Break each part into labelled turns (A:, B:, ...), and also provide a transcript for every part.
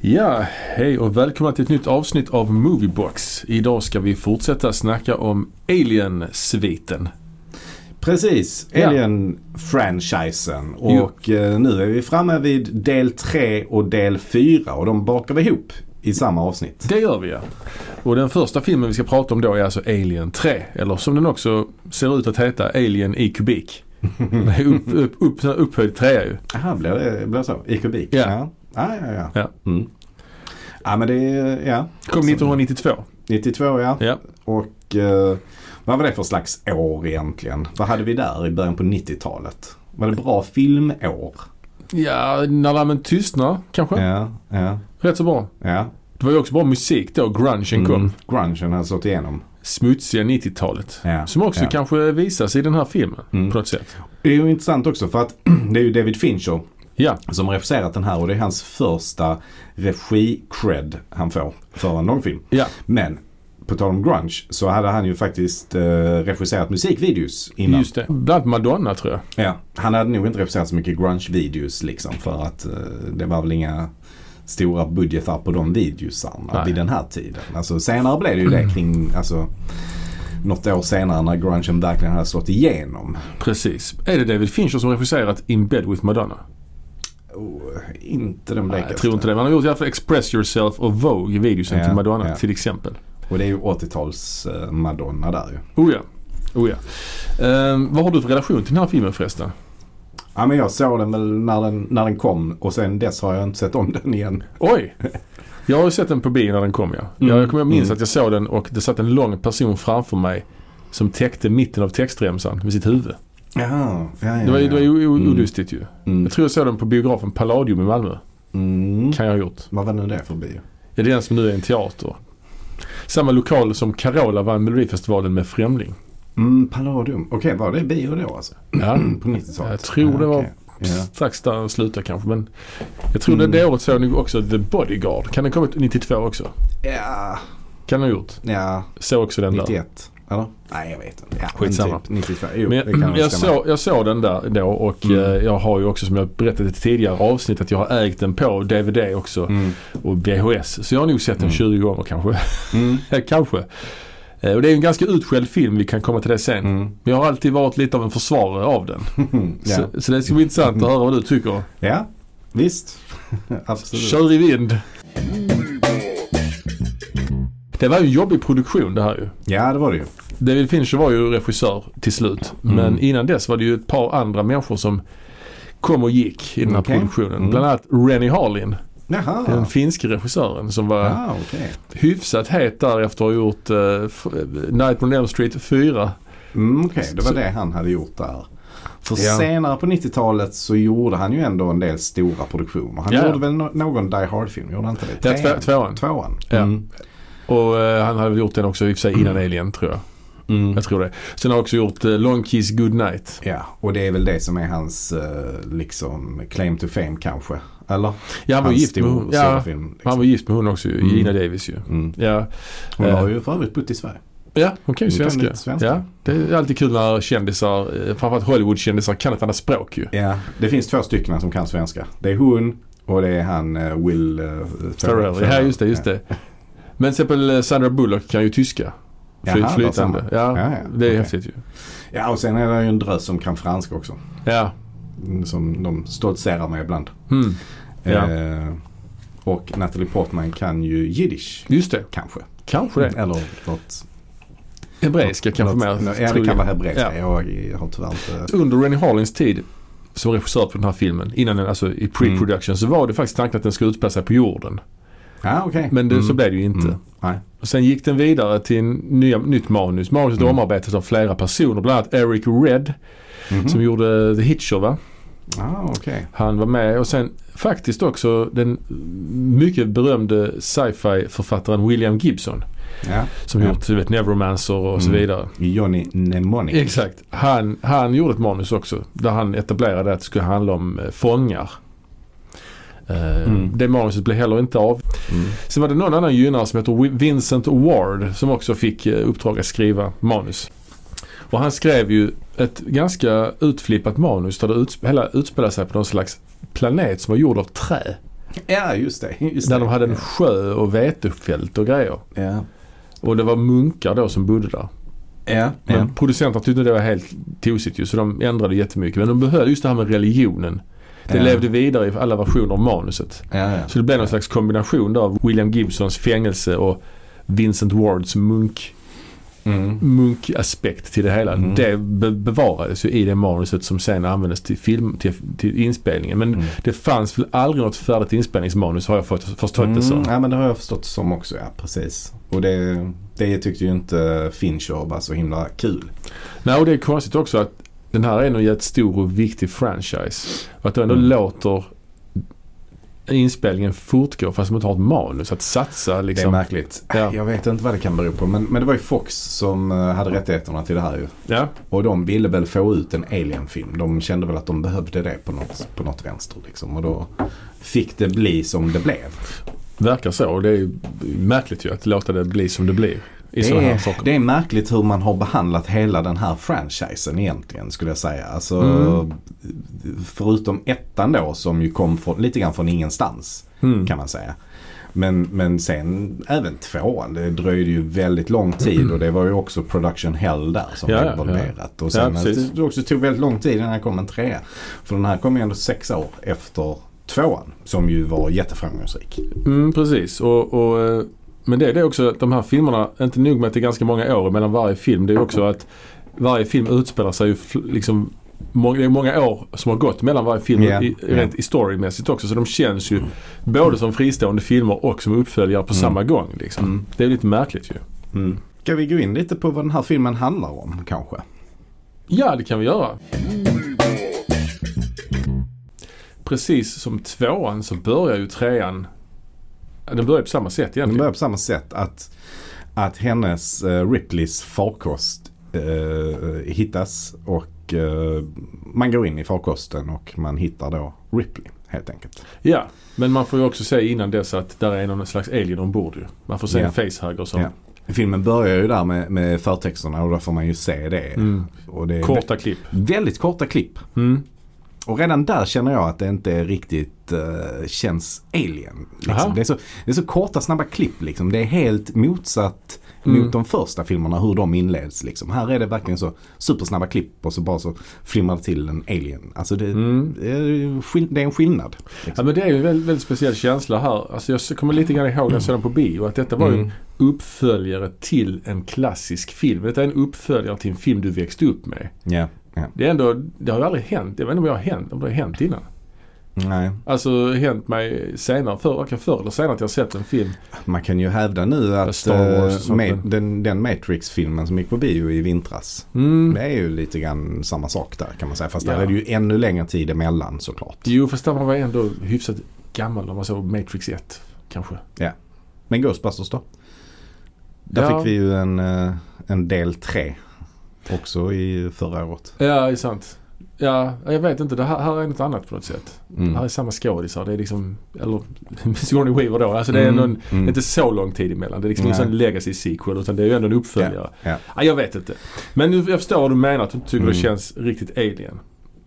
A: Ja, hej och välkomna till ett nytt avsnitt av Moviebox. Idag ska vi fortsätta snacka om Alien-sviten.
B: Precis,
A: Ja.
B: Alien-franchisen. Och eh, nu är vi framme vid del 3 och del 4 och de bakar vi ihop i samma avsnitt.
A: Det gör vi ja. Och den första filmen vi ska prata om då är alltså Alien 3. Eller som den också ser ut att heta, Alien i kubik. Det är upp, upp, upp, upphöjd trea ju.
B: Aha, blir det blir det så? I kubik?
A: Ja.
B: Ja, Ah, ja, ja. Ja,
A: Ja.
B: Mm. ja men det är, ja.
A: Kom 1992.
B: 92 ja.
A: Ja.
B: Och eh, vad var det för slags år egentligen? Vad hade vi där i början på 90-talet? Var det bra filmår?
A: ja, När lammen tystnar kanske.
B: Ja, ja,
A: Rätt så bra.
B: ja. Mm.
A: Det var ju också bra musik då, grungen kom.
B: Grungen hade slått igenom.
A: Smutsiga 90-talet.
B: Ja,
A: Som också
B: ja.
A: kanske visas i den här filmen
B: Mm.
A: på något sätt.
B: Det är ju intressant också för att det är ju David Fincher
A: Ja,
B: som har regisserat den här och det är hans första regi-cred han får för en långfilm.
A: ja.
B: Men på tal om grunge så hade han ju faktiskt eh, regisserat musikvideos innan.
A: Just det. Bland annat Madonna tror jag.
B: Ja, han hade nog inte regisserat så mycket grunge-videos liksom för att eh, det var väl inga stora budgetar på de videosarna
A: Nej. Mm.
B: vid den här tiden. Alltså senare blev det ju det kring, alltså något år senare när grungen verkligen hade slått igenom.
A: Precis. Är det David Fincher som regisserat In Bed With Madonna?
B: Oh, inte de
A: Nej,
B: blekaste.
A: jag tror inte det. Man har gjort i alla fall Express Yourself och Vogue i videosen
B: Ja,
A: till Madonna
B: ja.
A: till exempel.
B: Och det är ju 80-tals eh, Madonna där ju.
A: Oh ja. Oh ja. Ehm, vad har du för relation till den här filmen förresten?
B: Ja men jag såg den väl när den, när den kom och sen dess har jag inte sett om den igen.
A: Oj! Jag har ju sett den på bio när den kom ja. Jag, jag, kommer, jag
B: Mm.
A: minns att jag såg den och det satt en lång person framför mig som täckte mitten av textremsan med sitt huvud.
B: Ja, ja, ja.
A: Det var, ju- det var ju o-
B: Mm.
A: olustigt ju.
B: Mm.
A: Jag tror jag såg den på biografen Palladium i Malmö.
B: Mm.
A: Kan jag ha gjort.
B: Vad var nu det för bio?
A: Ja, det är den som nu är en teater. Samma lokal som Carola vann Melodifestivalen med Främling.
B: Mm, Palladium. Okej, var det bio då alltså?
A: Ja,
B: På 90-talet?
A: Jag tror det var-
B: okej. Ja. Mm.
A: strax där den slutar kanske. Men jag tror det, det året såg ni också The Bodyguard. Kan den kommit 92 också?
B: Ja,
A: Kan den ha gjort.
B: ja,
A: Såg också den där.
B: 91. Eller? Nej, jag vet inte. Ja, men
A: Skitsamma.
B: Typ 92. Jo,
A: Men
B: det kan
A: jag,
B: väl
A: jag,
B: stämma.
A: såg, jag såg den där då och
B: Mm.
A: eh, jag har ju också som jag berättade i ett tidigare avsnitt att jag har ägt den på DVD också
B: Mm.
A: och VHS. Så jag har nog sett den
B: Mm.
A: 20 gånger kanske.
B: Mm.
A: kanske. Eh, Och det är ju en ganska utskälld film, vi kan komma till det sen.
B: Mm.
A: Men jag har alltid varit lite av en försvarare av den.
B: ja.
A: Så, så det ska bli intressant att höra vad du tycker.
B: Mm. ja, visst. Absolut.
A: Kör i vind. Det var ju en jobbig produktion det här ju.
B: Ja, det var det ju.
A: David Fincher var ju regissör till slut.
B: Mm.
A: Men innan dess var det ju ett par andra människor som kom och gick i den här
B: Okej.
A: produktionen.
B: Mm.
A: Bland annat Rennie Harlin,
B: Jaha.
A: den finske regissören som var
B: Ah, okej.
A: hyfsat het där efter att ha gjort eh, f- Night on Elm Street 4.
B: Mm, Okej, det var
A: Så-
B: det han hade gjort där. För
A: Ja.
B: senare på 90-talet så gjorde han ju ändå en del stora produktioner. Han
A: Ja.
B: gjorde väl no- någon Die Hard-film, gjorde han inte det?
A: Ja, två- tvåan.
B: Trean? Tvåan.
A: Ja.
B: Mm.
A: Och eh, han hade väl gjort den också i och för sig innan Alien tror jag. Jag tror det. Sen har han också gjort eh, Long Kiss Goodnight.
B: Ja, och det är väl det som är hans eh, liksom claim to fame kanske. Eller?
A: Ja, han var
B: hans
A: gift med hon.
B: stora
A: Ja,
B: film. Liksom.
A: han var gift med hon också ju,
B: Mm.
A: Gina Davis ju.
B: Mm.
A: Ja,
B: Hon
A: Eh.
B: har ju för övrigt bott i Sverige.
A: ja hon kan ju
B: Hon kan
A: svenska.
B: lite svenska.
A: Ja, det är alltid kul när kändisar, eh, framförallt Hollywoodkändisar, kan ett annat språk ju.
B: Ja, det finns två stycken som kan svenska. Det är hon och det är han eh, Will eh,
A: Farrell. Ja, just det, just det. Men till exempel eh, Sandra Bullock kan ju tyska.
B: Jaha,
A: Fly,
B: bara
A: flytande.
B: samma.
A: Ja,
B: Ja, ja,
A: det är
B: okej.
A: häftigt ju.
B: Ja, och sen är det ju en drös som kan franska också.
A: Ja.
B: Mm, Som de stoltserar med ibland.
A: Mm. Ja.
B: Eh, och Natalie Portman kan ju jiddisch.
A: Just det,
B: Kanske.
A: kanske det.
B: Eller något.
A: Hebreiska kanske
B: Mm. något,
A: mer.
B: nå- Ja, det
A: troligen.
B: kan vara hebreiska.
A: Ja.
B: Jag har tyvärr inte...
A: under Rennie Harlins tid som regissör på den här filmen, innan den, alltså i pre-production,
B: Mm.
A: så var det faktiskt tanken att den skulle utspela sig på jorden.
B: Ja, okej.
A: Men det, så blev det ju inte.
B: Mm. Nej.
A: Och sen gick den vidare till en nya, nytt manus. Manuset
B: Mm.
A: omarbetats av flera personer, bland annat Eric Red
B: Mhm.
A: som gjorde The Hitcher va?
B: Ah, okej.
A: Han var med och sen faktiskt också den mycket berömde sci-fi författaren William Gibson
B: Ja.
A: som
B: Ja.
A: gjort du vet, Neuromancer och så
B: Mm.
A: vidare.
B: Johnny Mnemonic.
A: Exakt. Han, han gjorde ett manus också där han etablerade att det skulle handla om eh, fångar. Eh,
B: Mm.
A: Det manuset blev heller inte av.
B: Mm.
A: Sen var det någon annan gynnare som heter Wi- Vincent Ward som också fick eh, uppdrag att skriva manus. Och han skrev ju ett ganska utflippat manus där det utsp- hela utspelade sig på någon slags planet som var gjord av trä.
B: Ja, just det. Just
A: Där
B: det.
A: de hade en sjö och vetefält och grejer.
B: Ja.
A: Och det var munkar då som bodde där.
B: Ja.
A: Men
B: Ja.
A: producenterna tyckte det var helt tosigt ju så de ändrade jättemycket. Men de behöll just det här med religionen. Det
B: Ja.
A: levde vidare i alla versioner av manuset.
B: Ja, ja.
A: Så det blev någon slags kombination där av William Gibsons fängelse och Vincent Wards munk,
B: Mm.
A: munkaspekt till det hela.
B: Mm.
A: Det be- bevarades ju i det manuset som sen användes till, film, till, till inspelningen. Men
B: Mm.
A: det fanns väl aldrig något färdigt inspelningsmanus har jag fått, förstått det som.
B: Mm, ja, men det har jag förstått som också. Ja, precis. Och det, det tyckte ju inte Fincher var så himla kul.
A: Nej, och det är konstigt också att den här är en jättestor och viktig franchise. Och att de ändå
B: Mm.
A: låter inspelningen fortgå fast de inte har ett manus att satsa
B: Det är
A: liksom.
B: märkligt. Äh,
A: Ja.
B: Jag vet inte vad det kan bero på. Men, men det var ju Fox som eh, hade rättigheterna till det här ju.
A: Ja.
B: Och de ville väl få ut en Alien-film. De kände väl att de behövde det på något, på något vänster. Liksom. Och då fick det bli som det blev.
A: Verkar så. Och det är ju märkligt ju att låta det bli som det blir i sådana här saker.
B: det är märkligt hur man har behandlat hela den här franchisen egentligen skulle jag säga. Alltså,
A: Mm.
B: Förutom ettan då som ju kom från, lite grann från ingenstans
A: Mm.
B: kan man säga. Men, men sen även tvåan. Det dröjde ju väldigt lång tid och det var ju också production hell där som
A: Ja,
B: var
A: ja,
B: involverat. Och
A: Ja,
B: sen att
A: precis.
B: det också tog väldigt lång tid innan det kom en trea. För den här kom ju ändå sex år efter tvåan som ju var jätteframgångsrik.
A: Mm, precis. Och, och, eh, men det är det också att de här filmerna, inte nog med att det är ganska många år mellan varje film. Det är också att varje film utspelar sig ju fl- liksom Många, det är många år som har gått mellan varje film
B: Ja,
A: i,
B: ja.
A: rent i storymässigt också. Så de känns ju både som fristående filmer och som uppföljare på samma gång. Liksom.
B: Mm.
A: Det är lite märkligt ju.
B: Mm. Ska vi gå in lite på vad den här filmen handlar om kanske?
A: Ja, det kan vi göra. Precis som tvåan så börjar ju trean... Den börjar på samma sätt
B: Den
A: egentligen.
B: börjar på samma sätt. Att, att hennes eh, Ripleys farkost eh, hittas och eh, man går in i farkosten och man hittar då Ripley helt enkelt.
A: Ja, men man får ju också säga innan dess att där är någon slags alien ombord ju. Man får se
B: Ja.
A: en facehugger som...
B: Ja. Filmen börjar ju där med, med förtexterna och då får man ju se det.
A: Mm.
B: Och det är
A: Korta klipp.
B: vä- Väldigt korta klipp.
A: Mm.
B: Och redan där känner jag att det inte riktigt eh, känns alien.
A: Aha.
B: Liksom. Det, är så, det är så korta snabba klipp liksom. Det är helt motsatt
A: Mm.
B: mot de första filmerna hur de inleds. Liksom. Här är det verkligen så supersnabba klipp och så bara så flimmar det till en alien. Alltså det,
A: Mm.
B: det, är, skill- det är en skillnad.
A: Ja
B: Liksom.
A: men det är ju en väldigt, väldigt speciell känsla här. Alltså jag kommer lite grann ihåg när jag såg den på bio att detta var ju en
B: Mm.
A: uppföljare till en klassisk film. Detta är en uppföljare till en film du växte upp med.
B: Ja, ja.
A: Det är ändå, det har ju aldrig hänt. Jag vet inte om, jag har hänt, om det har hänt innan.
B: Nej.
A: Alltså hänt mig senare, för, varken förr eller senare att jag har sett en film.
B: Man kan ju hävda nu att
A: Star Wars och
B: eh,
A: sånt
B: med,
A: där.
B: den, den Matrix-filmen som gick på bio i vintras.
A: Mm.
B: Det är ju lite grann samma sak där kan man säga. Fast
A: Ja.
B: där är det ju ännu längre tid emellan såklart.
A: Jo fast där var man ändå hyfsat gammal när man såg Matrix 1 kanske.
B: Men Ghostbusters då? Där
A: Ja.
B: fick vi ju en, eh, en del 3 också i förra året.
A: Ja, det är sant. Ja, jag vet inte. Det här, här är något annat på något sätt. Det här är
B: Mm.
A: samma skådisar. Det är liksom, eller Sigourney Weaver då. Alltså det är ändå en,
B: Mm.
A: inte så lång tid emellan. Det är liksom
B: Nej.
A: inte en legacy sequel utan det är ju ändå en uppföljare.
B: Ja.
A: Ja, jag vet inte. Men nu, jag förstår vad du menar. Att du inte tycker det
B: Mm.
A: känns riktigt alien.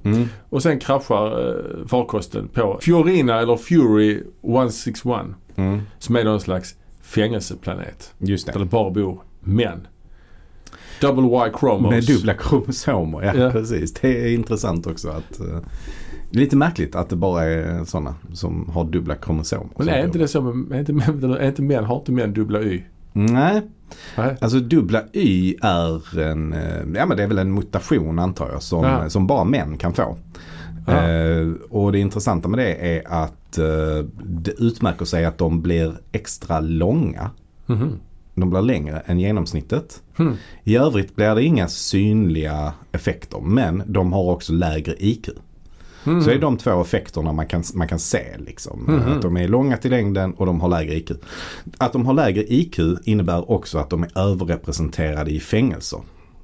B: Mm.
A: Och sen kraschar eh, farkosten på Fiorina eller Fury 161.
B: Mm.
A: Som är någon slags fängelseplanet.
B: Just
A: Där
B: det.
A: det bara bor män. Double Y chromos.
B: Med dubbla kromosomer, ja,
A: Ja.
B: precis. Det är intressant också att eh, lite märkligt att det bara är sådana som har dubbla kromosomer.
A: Men
B: som
A: är
B: bor.
A: inte det så med, är inte, män- är inte män, har inte män dubbla Y?
B: Mm, Nej,
A: Nej.
B: Alltså dubbla Y är en, eh, ja men det är väl en mutation antar jag som,
A: Ja.
B: som bara män kan få.
A: Ja.
B: Eh, och det intressanta med det är att eh, det utmärker sig att de blir extra långa.
A: Mhm.
B: De blir längre än genomsnittet.
A: Hmm.
B: I övrigt blir det inga synliga effekter men de har också lägre IQ.
A: Mhm.
B: Så det är de två effekterna man kan, man kan se. Liksom.
A: Mhm.
B: Att de är långa till längden och de har lägre IQ. Att de har lägre IQ innebär också att de är överrepresenterade i fängelser.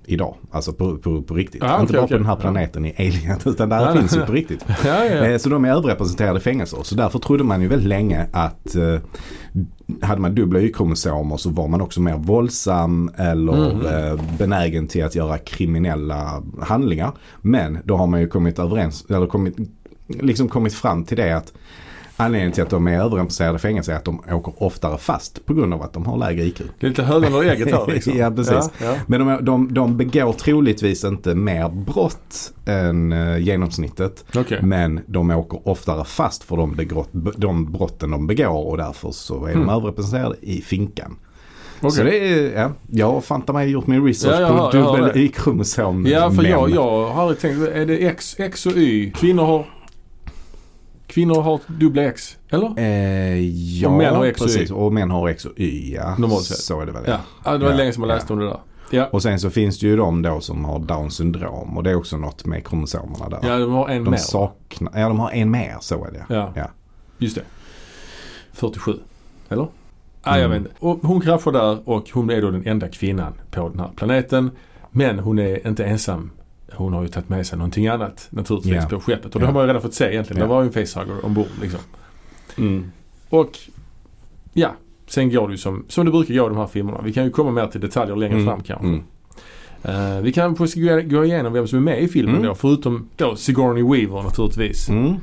B: Idag, alltså på, på, på riktigt.
A: Ah,
B: Inte
A: okej,
B: bara
A: okej.
B: på den här
A: Ja.
B: planeten i Alien utan det här
A: Nej,
B: finns ju
A: nej.
B: på riktigt.
A: Ja, ja.
B: Eh, Så de är överrepresenterade i fängelser. Så därför trodde man ju väldigt länge att eh, hade man dubbla Y-kromosomer så var man också mer våldsam eller
A: Mm.
B: eh, benägen till att göra kriminella handlingar. Men då har man ju kommit överens, eller kommit, liksom kommit fram till det att Anledningen till att de är överrepresenterade i fängelse är att de åker oftare fast på grund av att de har lägre IQ.
A: Det är lite hönan och ägget här liksom.
B: Ja, precis.
A: Ja, ja.
B: Men de, de, de begår troligtvis inte mer brott än eh, genomsnittet.
A: Okej.
B: Men de åker oftare fast för de, begrott, de brotten de begår och därför så är
A: Mm.
B: de överrepresenterade i finkan.
A: Okej.
B: Så det är, ja, jag har fan ta mig gjort min research
A: Ja, jag hör-
B: på
A: jag hör
B: dubbel
A: det.
B: Y-kromosom.
A: Ja, för
B: men-
A: jag, jag har aldrig tänkt. Är det X, X och Y? Kvinnor har... Kvinnor har dubbla X, eller?
B: Eh, ja,
A: Och män har X och Y.
B: precis. Och män har X och Y, ja.
A: Normalt sett.
B: Så är det väl.
A: Ja, ja det var
B: Ja,
A: länge sedan man
B: ja.
A: läste om det där. Ja,
B: Och sen så finns det ju de då som har Downs syndrom och det är också något med kromosomerna där.
A: ja de har en
B: de
A: mer.
B: saknar, ja de har en mer, så är det.
A: Ja.
B: Ja.
A: Just det. 47. Eller? Nej, jag
B: Mm.
A: vet inte. Och hon kraschar där och hon är då den enda kvinnan på den här planeten. Men hon är inte ensam. Hon har ju tagit med sig någonting annat naturligtvis
B: Ja.
A: på skeppet. Och det
B: Ja.
A: har man ju redan fått se egentligen.
B: Ja.
A: Det var ju en facehugger ombord liksom. Mm. Och ja, sen går det ju som, som det brukar gå i de här filmerna. Vi kan ju komma mer till detaljer längre
B: Mm.
A: fram kanske.
B: Mm.
A: Eh, vi kan kanske gå- gå igenom vem som är med i filmen
B: Mm.
A: då. Förutom då Sigourney Weaver naturligtvis.
B: Mm.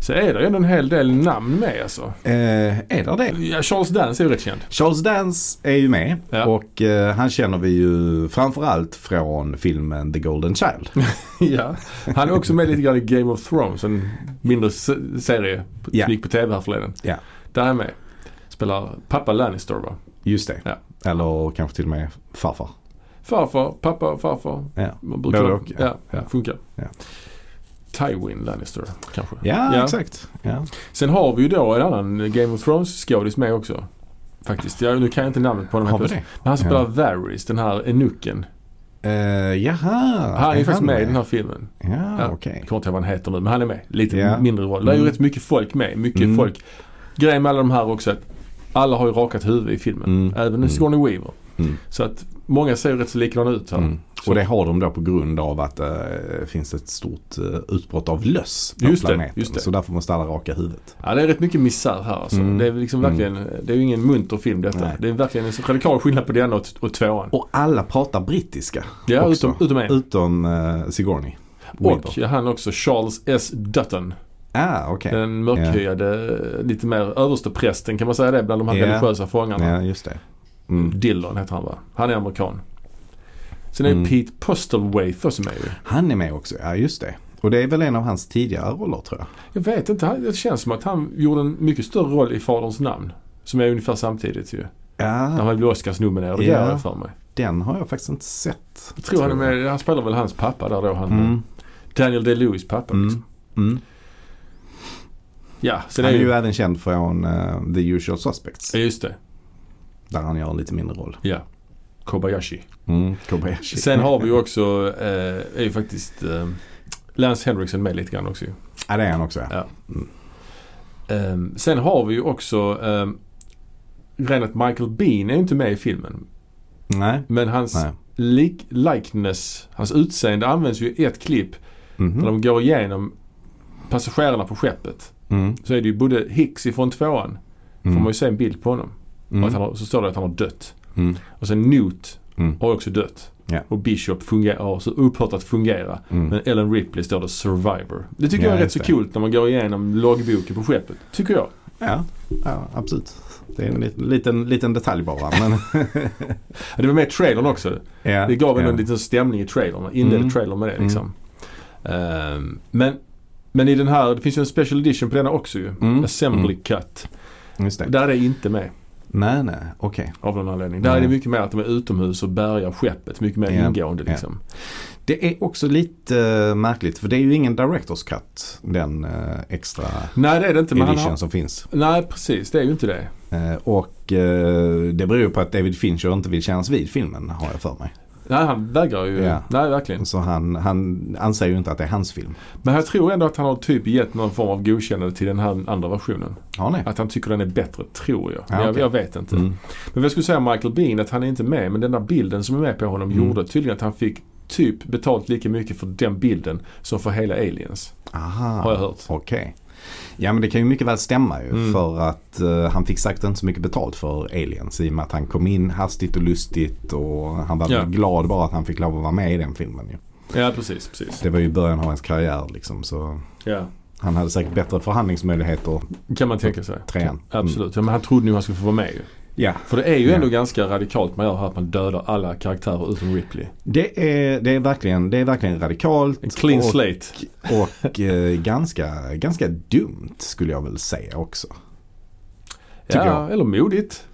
A: Så är det ju ändå en hel del namn med alltså.
B: Eh, är det det?
A: Ja, Charles Dance är ju rätt känd.
B: Charles Dance är ju med
A: Ja.
B: och eh, han känner vi ju framförallt från filmen The Golden Child.
A: ja. Han är också med lite grann i Game of Thrones, en mindre se- serie som
B: Ja.
A: gick på TV härförleden.
B: Ja.
A: Där är han med. Spelar pappa Lannister va?
B: Just det.
A: Ja.
B: Eller kanske till och med farfar.
A: Farfar, pappa, farfar.
B: Ja.
A: Man
B: Både och,
A: Ja,
B: ja.
A: funkar.
B: Ja.
A: Tywin Lannister kanske.
B: Ja,
A: Ja.
B: exakt. Ja.
A: Sen har vi ju då en annan Game of Thrones skådis med också. Faktiskt. Jag, nu kan jag inte namnet på honom.
B: Har vi
A: helt
B: det?
A: plötsligt. Men han spelar Varys, den här enucken.
B: Eh, jaha.
A: Han är ju faktiskt med i den här filmen.
B: Ja,
A: Ja.
B: okej.
A: Jag kommer inte ihåg vad han heter nu men han är med. Lite
B: Ja.
A: mindre roll. Det är ju
B: Mm.
A: rätt mycket folk med. Mycket
B: Mm.
A: folk. Grejen med alla de här också är att alla har ju rakat huvud i filmen.
B: Mm.
A: Även
B: Mm.
A: Sigourney Weaver.
B: Mm.
A: Så att många ser ju rätt så likadana ut här.
B: Mm. Och det har de då på grund av att det finns ett stort eh, utbrott av löss på
A: Just det,
B: planeten.
A: just det.
B: Så därför måste alla raka huvudet.
A: Ja, det är rätt mycket misär här alltså.
B: Mm.
A: Det är liksom verkligen, det är ju ingen munter film detta.
B: Nej.
A: Det är verkligen en så radikal skillnad på det ena och, och tvåan.
B: Och alla pratar brittiska.
A: Ja,
B: också.
A: utom, utom en.
B: Utom eh, Sigourney.
A: Och han också, Charles S. Dutton.
B: Ah, okej.
A: Den mörkhyade, lite mer översteprästen kan man säga det, bland de här
B: Ja.
A: religiösa fångarna.
B: Ja, just det. Mm.
A: Dillon heter han va? Han är amerikan. Sen är ju
B: Mm.
A: Pete Postlewaite också med ju.
B: Han är med också, ja just det. Och det är väl en av hans tidigare roller tror jag.
A: Jag vet inte, han- det känns som att han gjorde en mycket större roll i Faderns namn. Som är ungefär samtidigt ju. När
B: Ja,
A: han blev Oscarsnominerad, det
B: Ah. Ja.
A: yeah. jag för mig.
B: den har jag faktiskt inte sett.
A: Jag tror han är med, han spelar väl hans pappa där då. Han, eh,
B: Mm.
A: Daniel Day-Lewis pappa
B: Mm.
A: liksom.
B: Mm.
A: Ja, sen
B: Han
A: är
B: är ju
A: ju...
B: även känd från eh, The Usual Suspects.
A: Ja, just det.
B: Där han gör en lite mindre roll.
A: Ja. Kobayashi.
B: Mm. Kobayashi.
A: Sen har vi ju också, eh, är ju faktiskt eh, Lance Henriksen med lite grann också ju.
B: Ja, det är han också ja.
A: Ja. Ehm, sen har vi ju också um, Renat Michael Bean är ju inte med i filmen.
B: Nej.
A: Men hans
B: Nej.
A: lik- likeness, hans utseende används ju i ett klipp
B: Mhm.
A: när de går igenom passagerarna på skeppet.
B: Mm.
A: Så är det ju både Hicks ifrån tvåan, får
B: Mm.
A: man ju se en bild på honom.
B: Mm.
A: Och att han har, så står det att han har dött.
B: Mm.
A: Och sen Newt
B: Mm.
A: har också dött.
B: Ja.
A: Och Bishop fungerar, har så upphört att fungera.
B: Mm.
A: Men Ellen Ripley står det survivor. Det tycker
B: Ja,
A: jag är rätt
B: just
A: så
B: det.
A: kul när man går igenom loggboken på skeppet. Tycker jag.
B: Ja. ja, absolut. Det är en liten, liten, liten detalj bara. Men,
A: Ja, Det var med i trailern också.
B: ja,
A: Det gav ändå
B: ja.
A: en liten stämning i trailern. Man inledde
B: Mm.
A: trailern med det liksom. Ehm, men, men i den här, det finns ju en special edition på denna också ju.
B: Mm.
A: Assembly
B: Mm.
A: cut.
B: Just det.
A: Där är det inte med
B: Nej, nej, okej.
A: av någon anledning. Där
B: Nej.
A: är det mycket mer att de är utomhus och bärgar skeppet. Mycket mer
B: Ja.
A: ingående
B: Ja.
A: liksom.
B: Det är också lite eh, märkligt för det är ju ingen Directors Cut. Den eh, extra
A: Nej det är det inte. Men han
B: edition
A: har,
B: som finns.
A: nej precis, det är ju inte det.
B: Eh, och eh, det beror ju på att David Fincher inte vill kännas vid filmen har jag för mig.
A: Nej han vägrar ju.
B: Ja.
A: Nej verkligen.
B: Så han, han anser ju inte att det är hans film.
A: Men jag tror ändå att han har typ gett någon form av godkännande till den här andra versionen.
B: Har ni?
A: Att han tycker den är bättre, tror jag. Men
B: Ja,
A: jag,
B: okej.
A: jag vet inte.
B: Mm.
A: Men jag skulle säga Michael Bean att han är inte med men den där bilden som är med på honom
B: Mm.
A: gjorde tydligen att han fick typ betalt lika mycket för den bilden som för hela Aliens.
B: Aha.
A: Har jag hört.
B: Okej. Ja men det kan ju mycket väl stämma ju.
A: Mm.
B: För att eh, han fick säkert inte så mycket betalt för Aliens. I och med att han kom in hastigt och lustigt. Och han var
A: Ja.
B: väl glad bara att han fick lov att vara med i den filmen ju.
A: Ja precis, precis.
B: Det var ju början av hans karriär liksom. Så
A: Ja.
B: Han hade säkert bättre förhandlingsmöjligheter,
A: Kan man tänka sig.
B: trean.
A: Absolut. Ja, men han trodde nog han skulle få vara med ju.
B: Ja,
A: För det är ju
B: Ja.
A: ändå ganska radikalt man gör här att man dödar alla karaktärer utom Ripley.
B: det är, det är, verkligen, det är verkligen radikalt.
A: En clean
B: och,
A: slate.
B: och eh, ganska, ganska dumt skulle jag väl säga också. tycker
A: Ja,
B: jag.
A: eller modigt.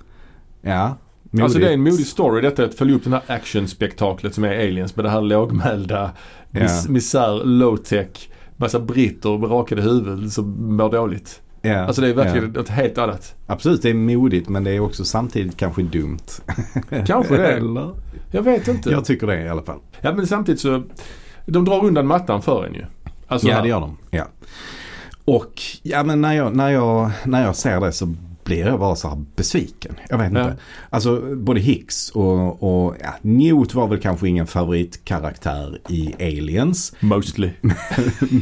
B: Ja,
A: Alltså
B: modigt.
A: det är en modig story detta att följa upp den här actionspektaklet som är Aliens med det här lågmälda,
B: Ja.
A: mis- misär, low-tech, massa britter med rakade huvud som mår dåligt.
B: Ja,
A: Alltså det är verkligen
B: ja.
A: något helt annat.
B: Absolut, det är modigt men det är också samtidigt kanske dumt.
A: Kanske det.
B: Eller?
A: Jag vet inte.
B: Jag tycker det i alla fall.
A: Ja men samtidigt så, de drar undan mattan för en ju. Alltså,
B: Ja, det gör de. Ja. Och ja, men när, jag, när, jag, när jag ser det så blir jag bara så här besviken. Jag vet inte.
A: Ja.
B: Alltså både Hicks och, och ja, Newt var väl kanske ingen favoritkaraktär i Aliens.
A: Mostly.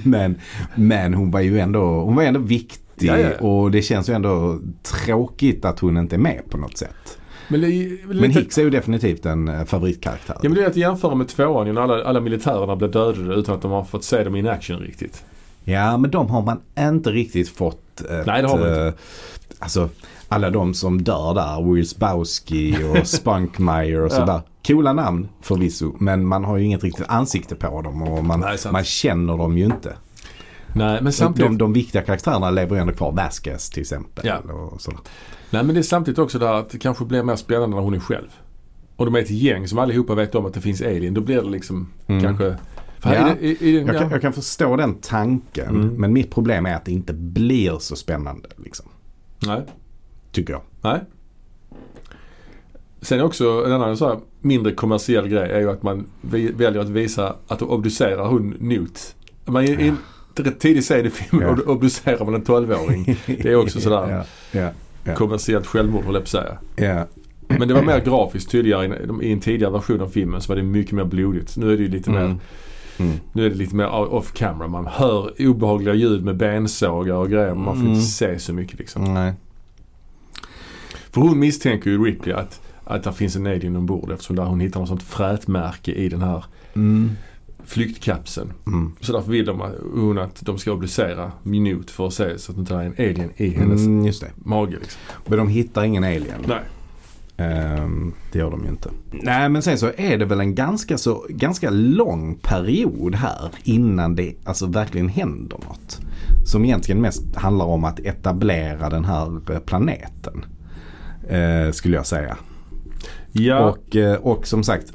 B: Men, men hon var ju ändå, hon var ändå viktig
A: Ja, ja, ja.
B: och det känns ju ändå tråkigt att hon inte är med på något sätt.
A: Men, det är-
B: Men
A: lite-
B: Hicks är ju definitivt en eh, favoritkaraktär.
A: Ja men det är att jämföra med tvåan ju när alla, alla militärerna blev dödade utan att de har fått se dem in action riktigt.
B: Ja, men de har man inte riktigt fått. Ett,
A: Nej, det har man inte.
B: eh, Alltså, alla de som dör där. Will Spowski och Spunkmeyer och
A: Ja.
B: sådär. Coola namn förvisso, men man har ju inget riktigt ansikte på dem och man,
A: Nej, sant.
B: man känner dem ju inte.
A: Nej men samtidigt.
B: De, de viktiga karaktärerna lever ju ändå kvar. Vasquez till exempel.
A: Ja.
B: Och sådär.
A: Nej men det är samtidigt också det här att det kanske blir mer spännande när hon är själv. Och de är ett gäng som allihopa vet om att det finns alien. Då blir det liksom
B: Mm.
A: kanske... För
B: Ja.
A: är det, är, är,
B: Jag, kan,
A: ja.
B: jag kan förstå den tanken,
A: Mm.
B: men mitt problem är att det inte blir så spännande. Liksom,
A: Nej.
B: tycker jag.
A: Nej. Sen också en annan så här mindre kommersiell grej är ju att man vi- väljer att visa att de obducerar hon Newt. Man är
B: Ja.
A: in, rätt tidigt sen i filmen
B: Ja.
A: ob- obducerar man en 12-åring. Det är också sådär.
B: ja, ja, Ja.
A: Kommersiellt självmord höll jag på att säga.
B: ja.
A: Men det var mer grafiskt tydligare. i en- I en tidigare version av filmen så var det mycket mer blodigt. Nu är det ju lite mer
B: Mm. Mm.
A: Nu är det lite mer off camera. Man hör obehagliga ljud med bensågar och grejer. men Man får
B: Mm.
A: inte se så mycket liksom.
B: Nej.
A: För hon misstänker ju Ripley att, att det finns en alien ombord eftersom där hon hittar något sånt frätmärke i den här
B: Mm.
A: flyktkapseln.
B: Mm.
A: Så därför vill de, att- hon att de ska obducera Minut för att se så att det inte är en alien i hennes
B: Mm, just det.
A: mage. Liksom.
B: Men de hittar ingen alien.
A: Nej.
B: Ehm, det gör de ju inte. Nej men sen så är det väl en ganska, så, ganska lång period här innan det alltså verkligen händer något. Som egentligen mest handlar om att etablera den här eh, planeten. eh, skulle jag säga.
A: Ja,
B: Och, eh, och som sagt,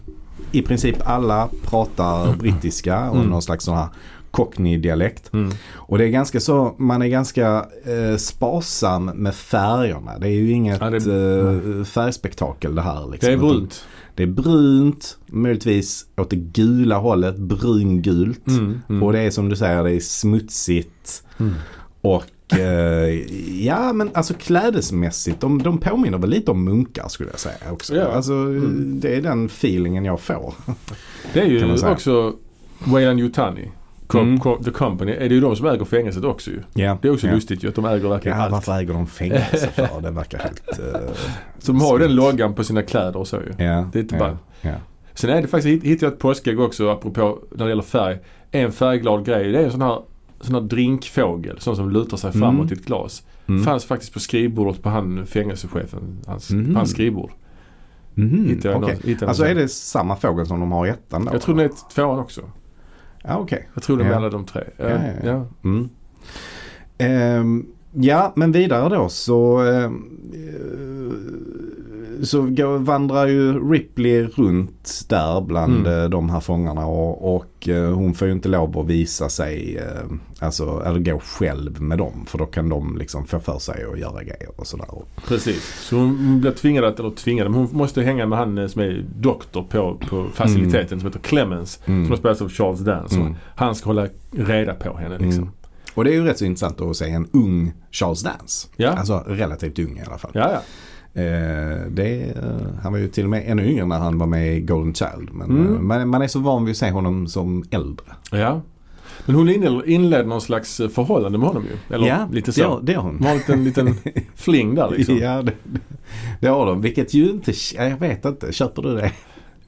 B: i princip alla pratar
A: Mm.
B: brittiska och någon slags sån här cockney-dialekt.
A: Mm.
B: Och det är ganska så, man är ganska eh, sparsam med färgerna. Det är ju inget
A: Ja, det- Mm.
B: eh, färgspektakel det här. Liksom.
A: det är
B: Utan
A: brunt.
B: Det är brunt, möjligtvis åt det gula hållet, brungult.
A: Mm, mm.
B: Och det är som du säger, det är smutsigt. Och eh, ja men alltså klädesmässigt, de, de påminner väl lite om munkar skulle jag säga också.
A: Ja. Mm.
B: Alltså det är den feelingen jag får.
A: Det är
B: kan man
A: ju
B: säga.
A: också Wayland Yutani. Com-
B: Mm.
A: com- the Company. Är det ju de som äger fängelset också ju.
B: Ja.
A: Det är också
B: ja.
A: lustigt ju att de äger verkligen
B: Ja,
A: allt.
B: varför äger de fängelse för? Det verkar helt... eh,
A: Så de har ju den
B: skumt.
A: loggan på sina kläder och så ju.
B: Ja,
A: Det är inte
B: ja,
A: bara-
B: ja.
A: Sen är det faktiskt, hitt- hittade jag ett påskägg också apropå när det gäller färg. En färgglad grej det är en sån här, sån här drinkfågel. Sån som lutar sig framåt i
B: Mm.
A: ett glas.
B: Mm.
A: Fanns faktiskt på skrivbordet på han fängelsechefen. Hans,
B: Mhm.
A: på hans skrivbord.
B: Mhm,
A: Hittade jag
B: okej.
A: någon- hittade jag
B: Alltså
A: någon-
B: är det samma fågel som de har i ettan då?
A: Jag tror det är ett- tvåan också.
B: Ja, okej.
A: Jag tror det är
B: Ja.
A: alla de tre. Ja,
B: ja,
A: ja,
B: ja. Mm. Ehm, ja, men vidare då så, ehm, eh, så går, vandrar ju Ripley runt där bland
A: Mm.
B: eh, de här fångarna och, och eh, hon får ju inte lov att visa sig, eh, alltså, eller gå själv med dem för då kan de liksom få för sig att göra grejer och sådär. Och-
A: Precis. Så hon blir tvingad att, eller tvingad, men hon måste hänga med han eh, som är doktor på, på faciliteten som heter Clemens. Som har spelats av Charles Dance.
B: Mm.
A: Han ska hålla reda på henne liksom.
B: Mm. Och det är ju rätt så intressant att se en ung Charles Dance.
A: Ja.
B: Alltså relativt ung i alla fall.
A: Ja, ja.
B: Eh, det, eh, han var ju till och med ännu yngre när han var med i Golden Child. Men
A: Mm.
B: eh, man, man är så van vid att se honom som äldre.
A: Ja. Men hon inle- inledde någon slags eh, förhållande med honom ju. Eller lite så.
B: Det, har- det har hon.
A: Hon har en liten, liten fling där liksom.
B: Ja, det, det har de. Vilket ju inte, jag vet inte, köper du det?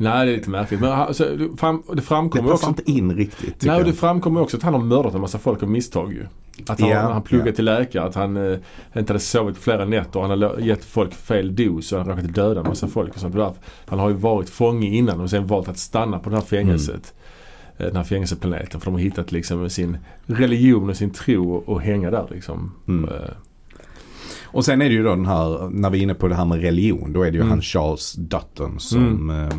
A: Nej, det är lite märkligt. Men han- så, det fram, det
B: Det
A: framkommer
B: passar
A: också...
B: inte in riktigt. tycker
A: Nej, och det
B: jag.
A: framkommer också att han har mördat en massa folk av misstag ju. Att han,
B: Ja,
A: när han pluggade
B: ja.
A: till läkare, att han eh, inte hade sovit flera nätter. Han hade lo- gett folk fel dos och han hade råkat döda en massa folk och sånt där. Han har ju varit fånge innan och sen valt att stanna på det här fängelset. eh,
B: Mm.
A: Den här fängelseplaneten. För de har hittat liksom sin religion och sin tro och, och hänga där liksom.
B: Mm.
A: Eh,
B: Och sen är det ju då den här, när vi är inne på det här med religion, då är det ju
A: Mm.
B: han Charles Dutton som, eh,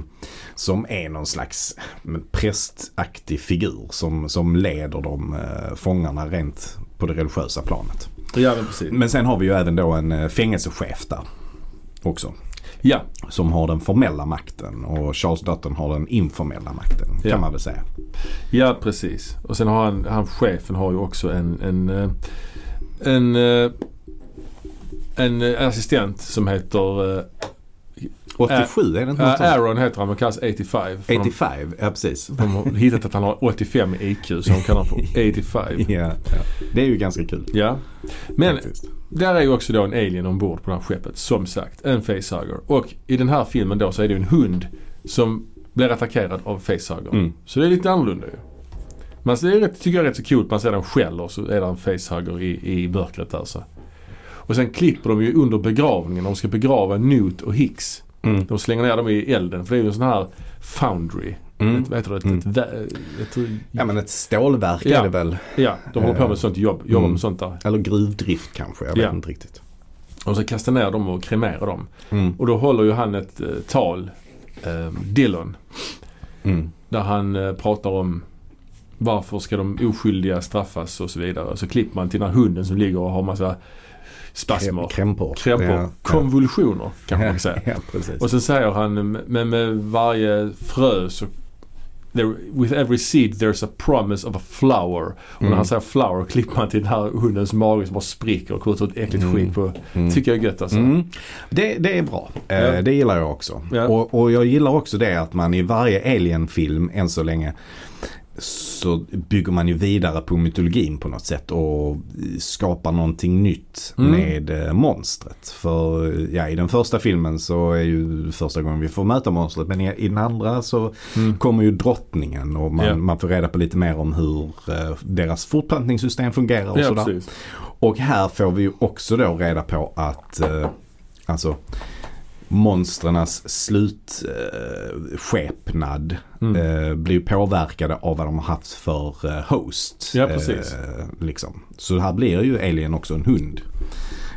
B: som är någon slags men, prästaktig figur som, som leder de eh, fångarna rent på det religiösa planet.
A: Ja, men precis.
B: Men sen har vi ju även då en eh, fängelsechef där också.
A: Ja,
B: Som har den formella makten och Charles Dutton har den informella makten
A: Ja.
B: kan man väl säga.
A: ja precis. Och sen har han, han chefen har ju också en, en, eh, en, eh, en eh, assistent som heter eh,
B: 87 är det inte
A: Ja,
B: någonstans?
A: Aaron heter han men kallas 85. För
B: 85, ja precis.
A: De, de har hittat att han har 85 i IQ så de kallar honom för 85.
B: Ja, ja. Det är ju ganska kul.
A: Ja. Men
B: faktiskt.
A: där är ju också då en alien ombord på det här skeppet. Som sagt, en facehugger. Och i den här filmen då så är det ju en hund som blir attackerad av facehuggern.
B: Mm.
A: Så det är lite annorlunda ju. Men så det är rätt, tycker jag är rätt så coolt. Man ser den skäller och så är det en facehugger i, i mörkret där så. Och sen klipper de ju under begravningen. De ska begrava Newt och Hicks.
B: Mm.
A: De slänger ner dem i elden för det är ju en sån här foundry.
B: Mm.
A: Ett, vad heter det? Ett,
B: Mm.
A: ett, vä- ett,
B: Ja men ett stålverk
A: Ja.
B: är det väl.
A: ja, de håller på med sånt jobb. Jobbar
B: Mm.
A: med sånt där.
B: Eller gruvdrift kanske, jag vet
A: Ja.
B: inte riktigt.
A: Och så kastar ner dem och kremerar dem. Och då håller ju han ett eh, tal, eh, Dillon,
B: Mm.
A: där han eh, pratar om varför ska de oskyldiga straffas och så vidare. Så klipper man till den här hunden som ligger och har massa spasmer,
B: Krämpor.
A: krämpor,
B: Ja,
A: konvulsioner
B: ja.
A: kanske man kan säga.
B: Ja, precis.
A: Och sen säger han, men med varje frö så there, With every seed there's a promise of a flower. Och när
B: Mm.
A: han säger flower klipper man till den här hundens mage som bara spricker och kommer ut ett äckligt
B: Mm.
A: skit på.
B: Mm.
A: Tycker jag är gött alltså.
B: Mm. Det, det är bra. Eh,
A: Ja.
B: Det gillar jag också.
A: Ja.
B: Och, och jag gillar också det att man i varje Alien-film än så länge så bygger man ju vidare på mytologin på något sätt och skapar någonting nytt
A: Mm.
B: med eh, monstret. För eh, ja, i den första filmen så är ju första gången vi får möta monstret men i, i den andra så
A: Mm.
B: kommer ju drottningen och man,
A: Ja.
B: man får reda på lite mer om hur eh, deras fortplantningssystem fungerar och
A: Ja,
B: sådär.
A: precis.
B: Och här får vi ju också då reda på att eh, alltså monstrenas slutskepnad eh, skepnad,
A: Mm.
B: eh, blir ju påverkade av vad de har haft för eh, host.
A: Ja, precis.
B: Eh, liksom. Så här blir ju Alien också en hund.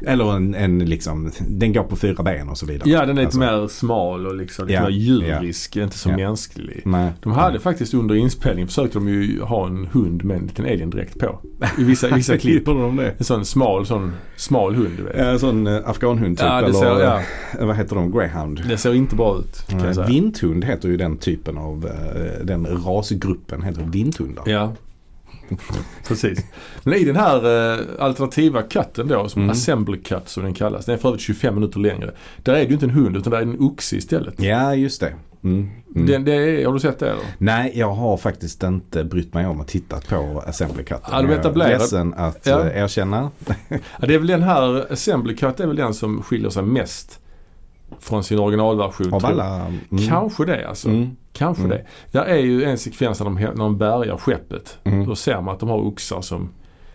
B: Eller en, en liksom, den går på fyra ben och så vidare.
A: Ja, den är lite
B: Alltså,
A: mer smal och liksom lite
B: Ja,
A: mer djurisk, inte så
B: ja.
A: mänsklig.
B: Nej.
A: De hade faktiskt under inspelningen försökte de ju ha en hund med en liten alien-dräkt på. I vissa, i vissa klipp.
B: de det?
A: En sån smal, sån smal hund du vet.
B: Ja, en sån eh, afghanhund typ.
A: Ja, det
B: eller
A: ser, ja,
B: eh, vad heter de? Greyhound?
A: det ser inte bra ut kan jag
B: Nej,
A: säga.
B: Vinthund Mm. heter ju den typen av, eh, den rasgruppen heter vindhundar.
A: Ja. Precis. Men i den här eh, alternativa katten då, som
B: Mm.
A: assembly cut som den kallas. Den är för övrigt 25 minuter längre. Där är det ju inte en hund utan där är det en oxe istället.
B: Ja, just det. Mm. Mm.
A: Den, det är, har du sett det eller?
B: Nej, jag har faktiskt inte brytt mig om att titta på Assembly Cut.
A: Ja, du vet,
B: jag
A: det
B: är
A: blir-
B: ledsen att
A: Ja.
B: eh, erkänna.
A: Ja, det är väl den här Assembly Cut är väl den som skiljer sig mest från sin originalversion.
B: Av
A: tror jag.
B: alla... Mm.
A: Kanske det alltså.
B: Mm.
A: Kanske
B: Mm.
A: det. Där är ju en sekvens när de, när de bärgar skeppet.
B: Mm.
A: Då ser man att de har oxar som,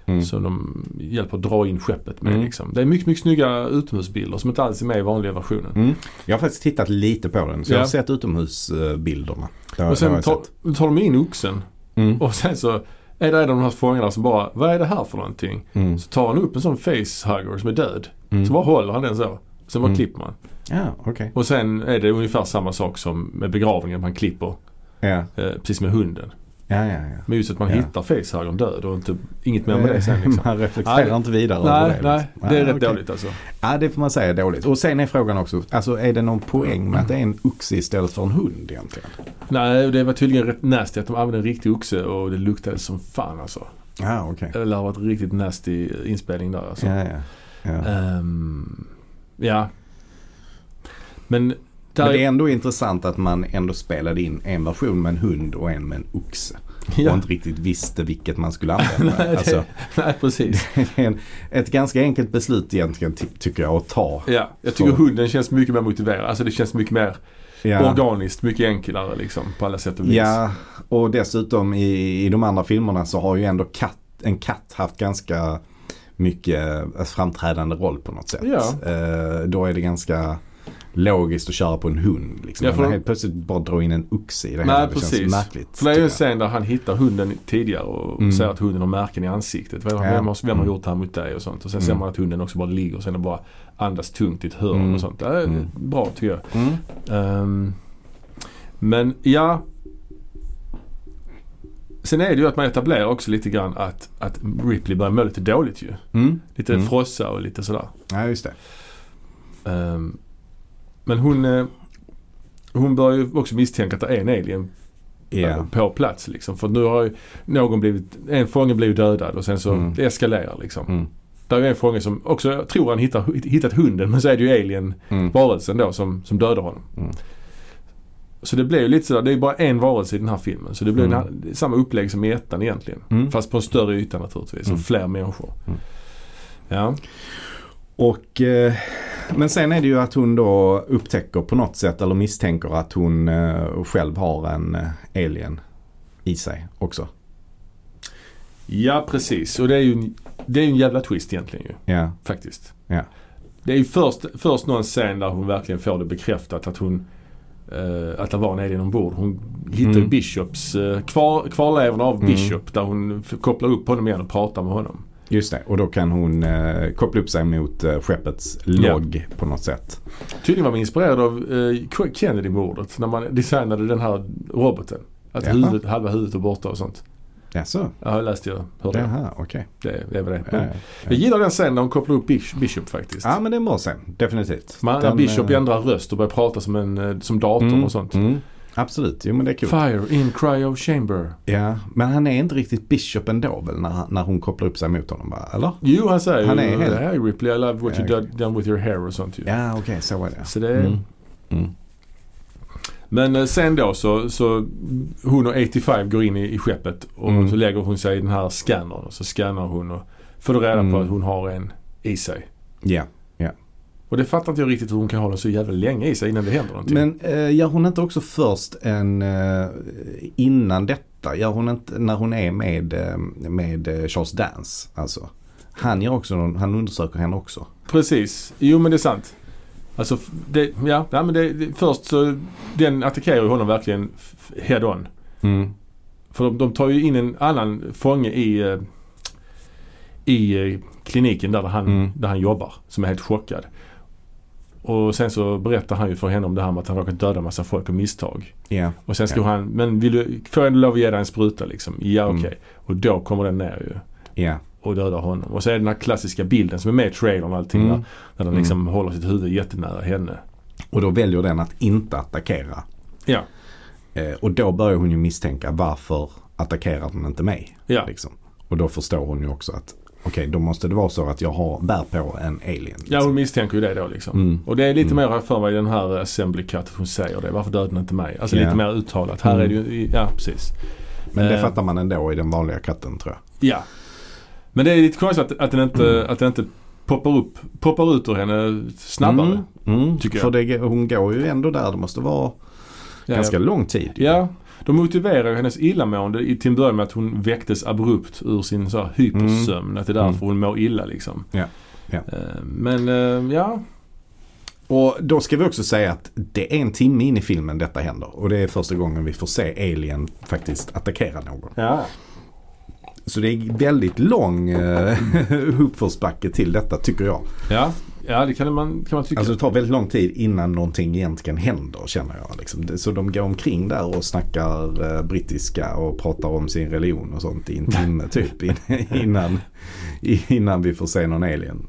B: Mm.
A: som de hjälper att dra in skeppet med.
B: Mm.
A: Liksom. Det är mycket, mycket snygga utomhusbilder som inte alls är med i vanliga versionen.
B: Mm. Jag har faktiskt tittat lite på den. Så jag
A: Ja.
B: har sett utomhusbilderna. Det
A: Och
B: har- det har
A: sen
B: jag
A: tar,
B: sett.
A: tar de in oxen
B: Mm.
A: och sen så är det en av de här fångarna som bara, vad är det här för någonting?
B: Mm.
A: Så tar han upp en sån facehugger som är död.
B: Mm.
A: Så bara håller han den så. Sen bara
B: Mm.
A: klipper man.
B: Ja, okej.
A: Och sen är det ungefär samma sak som med begravningen. Man klipper
B: Ja,
A: eh, precis med hunden.
B: ja, ja. ja.
A: Men just att man
B: Ja.
A: hittar facehuggern död och inte, inget mer med det sen liksom.
B: Man reflekterar
A: Nej,
B: inte vidare över
A: Nej,
B: det.
A: nej.
B: liksom.
A: Det är
B: Ah,
A: rätt
B: okej.
A: dåligt alltså.
B: Ja, det får man säga är dåligt. Och sen är frågan också, alltså är det någon poäng med att det är en oxe istället för en hund egentligen?
A: Nej, och det var tydligen rätt nasty att de använde en riktig oxe och det luktade som fan alltså.
B: Ja, okej.
A: Det lär ha varit riktigt nasty inspelning där alltså.
B: Ja, ja. ja.
A: Ehm, ja. Men, där
B: Men det är ändå intressant att man ändå spelade in en version med en hund och en med en oxe. Och
A: ja,
B: inte riktigt visste vilket man skulle använda.
A: Nej, det-
B: alltså,
A: nej, precis.
B: det är en, ett ganska enkelt beslut egentligen ty- tycker jag att ta.
A: Ja, jag tycker
B: Så.
A: hunden känns mycket mer motiverad. Alltså det känns mycket mer
B: Ja.
A: organiskt mycket enklare liksom på alla sätt och vis.
B: Ja, och dessutom i, i de andra filmerna så har ju ändå katt, en katt haft ganska mycket eh, framträdande roll på något sätt.
A: Ja.
B: Eh, då är det ganska logiskt att köra på en hund. Liksom.
A: Ja,
B: Ja,
A: för de-
B: Helt plötsligt bara dra in en oxe i det
A: Nej,
B: hela. Det
A: precis.
B: känns märkligt.
A: För det är ju
B: tycker
A: en
B: jag.
A: scen där han hittar hunden tidigare och
B: Mm.
A: ser att hunden har märken i ansiktet. Vem,
B: Ja.
A: vem, har, vem har
B: Mm.
A: gjort det här mot dig och sånt. Och sen ser
B: Mm.
A: man att hunden också bara ligger och sen bara andas tungt i ett hörn
B: Mm.
A: och sånt. Det är
B: Mm.
A: bra tycker jag.
B: Mm.
A: Ehm, men ja. Sen är det ju att man etablerar också lite grann att, att Ripley börjar må lite dåligt ju.
B: Mm.
A: Lite
B: Mm.
A: frossa och lite sådär.
B: Ja, just det.
A: Ehm, men hon, eh, hon börjar ju också misstänka att det är en alien
B: Ja.
A: eh, på plats liksom. För nu har ju någon blivit, en fånge blev dödad och sen så
B: Mm.
A: det eskalerar liksom.
B: Mm.
A: Där är ju en fånge som också, jag tror han hittar, hittat hunden men så är det ju alien
B: Mm.
A: varelsen då som, som dödar honom.
B: Mm.
A: Så det blir ju lite sådär, det är ju bara en varelse i den här filmen. Så det blir
B: Mm.
A: en, det är samma upplägg som i ettan egentligen.
B: Mm.
A: Fast på en större yta naturligtvis och
B: Mm.
A: fler människor.
B: Mm.
A: Ja.
B: Och, eh, men sen är det ju att hon då upptäcker på något sätt eller misstänker att hon eh, själv har en eh, alien i sig också.
A: ja, precis. Och det är ju en, det är ju en jävla twist egentligen ju.
B: Ja,
A: Faktiskt.
B: Ja.
A: Det är ju först, först någon scen där hon verkligen får det bekräftat att hon eh, att det var en alien ombord. Hon hittar ju
B: Mm.
A: Bishops, eh, kvar, kvarlevorna av
B: Mm.
A: Bishop där hon f- kopplar upp honom igen och pratar med honom.
B: just det. Och då kan hon eh, koppla upp sig mot eh, skeppets logg på något sätt.
A: Tydligen var man inspirerad av eh, Kennedy-mordet när man designade den här roboten. Att
B: Jaha.
A: huvudet, halva huvudet var borta och sånt.
B: Jaså?
A: Ja, jag läste jag. Hörde jag.
B: Jaha, okej.
A: Det, det var det.
B: Ja,
A: Men
B: ja.
A: Jag gillar den scenen när hon kopplar upp Bish- Bishop faktiskt.
B: Ja, men det är en bra scen. Definitivt.
A: Man, när
B: Den,
A: Bishop
B: eh,
A: ändrar röst och börjar prata som, en, eh, som datorn
B: mm,
A: och sånt.
B: Mm, absolut, jo men det är kul.
A: Fire in cryo chamber.
B: Ja, men han är inte riktigt Bishop ändå väl när, när hon kopplar upp sig mot honom va? Eller?
A: Jo, han säger
B: Han
A: ju
B: är helt-
A: det här är Ripley, I love what
B: Ja,
A: you done- done with your hair och sånt ju.
B: Ja, okej, så var det.
A: Så det är...
B: Mm. Mm.
A: Men eh, sen då så, så hon och 85 går in i, i skeppet och
B: Mm.
A: så lägger hon sig i den här scannern och så scannar hon och får då reda
B: Mm.
A: på att hon har en i sig.
B: Ja.
A: Och det fattar inte jag riktigt hur hon kan ha den så jävla länge i sig innan det händer någonting.
B: Men eh, gör hon inte också först en eh, innan detta? Gör hon inte när hon är med, eh, med eh, Charles Dance? Alltså. Han, gör också någon, han undersöker henne också.
A: Precis. Jo men det är sant. Alltså f- det, ja, nej, men det, det, först så den attackerar ju honom verkligen f- head on.
B: Mm.
A: För de, de tar ju in en annan fånge i, eh, i eh, kliniken där han,
B: Mm.
A: där han jobbar som är helt chockad. Och sen så berättar han ju för henne om det här med att han råkat döda massa folk av misstag.
B: Ja.
A: Och sen ska
B: Ja.
A: han, men vill du, får jag lov att ge dig en spruta liksom? Ja okej.
B: Mm.
A: Och då kommer den ner ju
B: Ja.
A: och dödar honom. Och så är det den här klassiska bilden som är med i trailern och allting
B: Mm.
A: där. Där den liksom håller sitt huvud jättenära henne.
B: Och då väljer den att inte attackera.
A: Ja,
B: Eh, och då börjar hon ju misstänka varför attackerar den inte mig?
A: ja.
B: Liksom. Och då förstår hon ju också att okej då måste det vara så att jag har, bär på en alien.
A: Ja,
B: Liksom.
A: hon misstänker ju det då liksom.
B: Mm.
A: Och det är lite mer här för mig i den här Assembly Cut att hon säger det. Varför dödade ni inte mig? Alltså
B: Ja.
A: lite mer uttalat. Här
B: Mm.
A: är det ju, ja precis.
B: Men det
A: eh.
B: fattar man ändå i den vanliga katten tror jag.
A: Ja. Men det är lite konstigt att, att den inte,
B: Mm.
A: att den inte poppar, upp, poppar ut ur henne snabbare.
B: Mm, mm,
A: tycker jag.
B: För det, hon går ju ändå där. Det måste vara
A: Ja,
B: ganska
A: ja.
B: lång tid. ju.
A: ja, de motiverar ju hennes illamående i till en början med att hon väcktes abrupt ur sin så här hypersömn. Att det är därför
B: Mm.
A: hon mår illa liksom.
B: Ja. Ja.
A: Eh, Men eh, ja,
B: Och då ska vi också säga att det är en timme in i filmen detta händer. Och det är första gången vi får se Alien faktiskt attackera någon.
A: ja.
B: Så det är väldigt lång eh, uppförsbacke till detta tycker jag.
A: Ja, ja det kan man, kan man tycka.
B: Alltså det tar väldigt lång tid innan någonting egentligen händer känner jag. Liksom. Det- Så de går omkring där och snackar eh, brittiska och pratar om sin religion och sånt i en timme typ. In, innan, innan vi får se någon alien.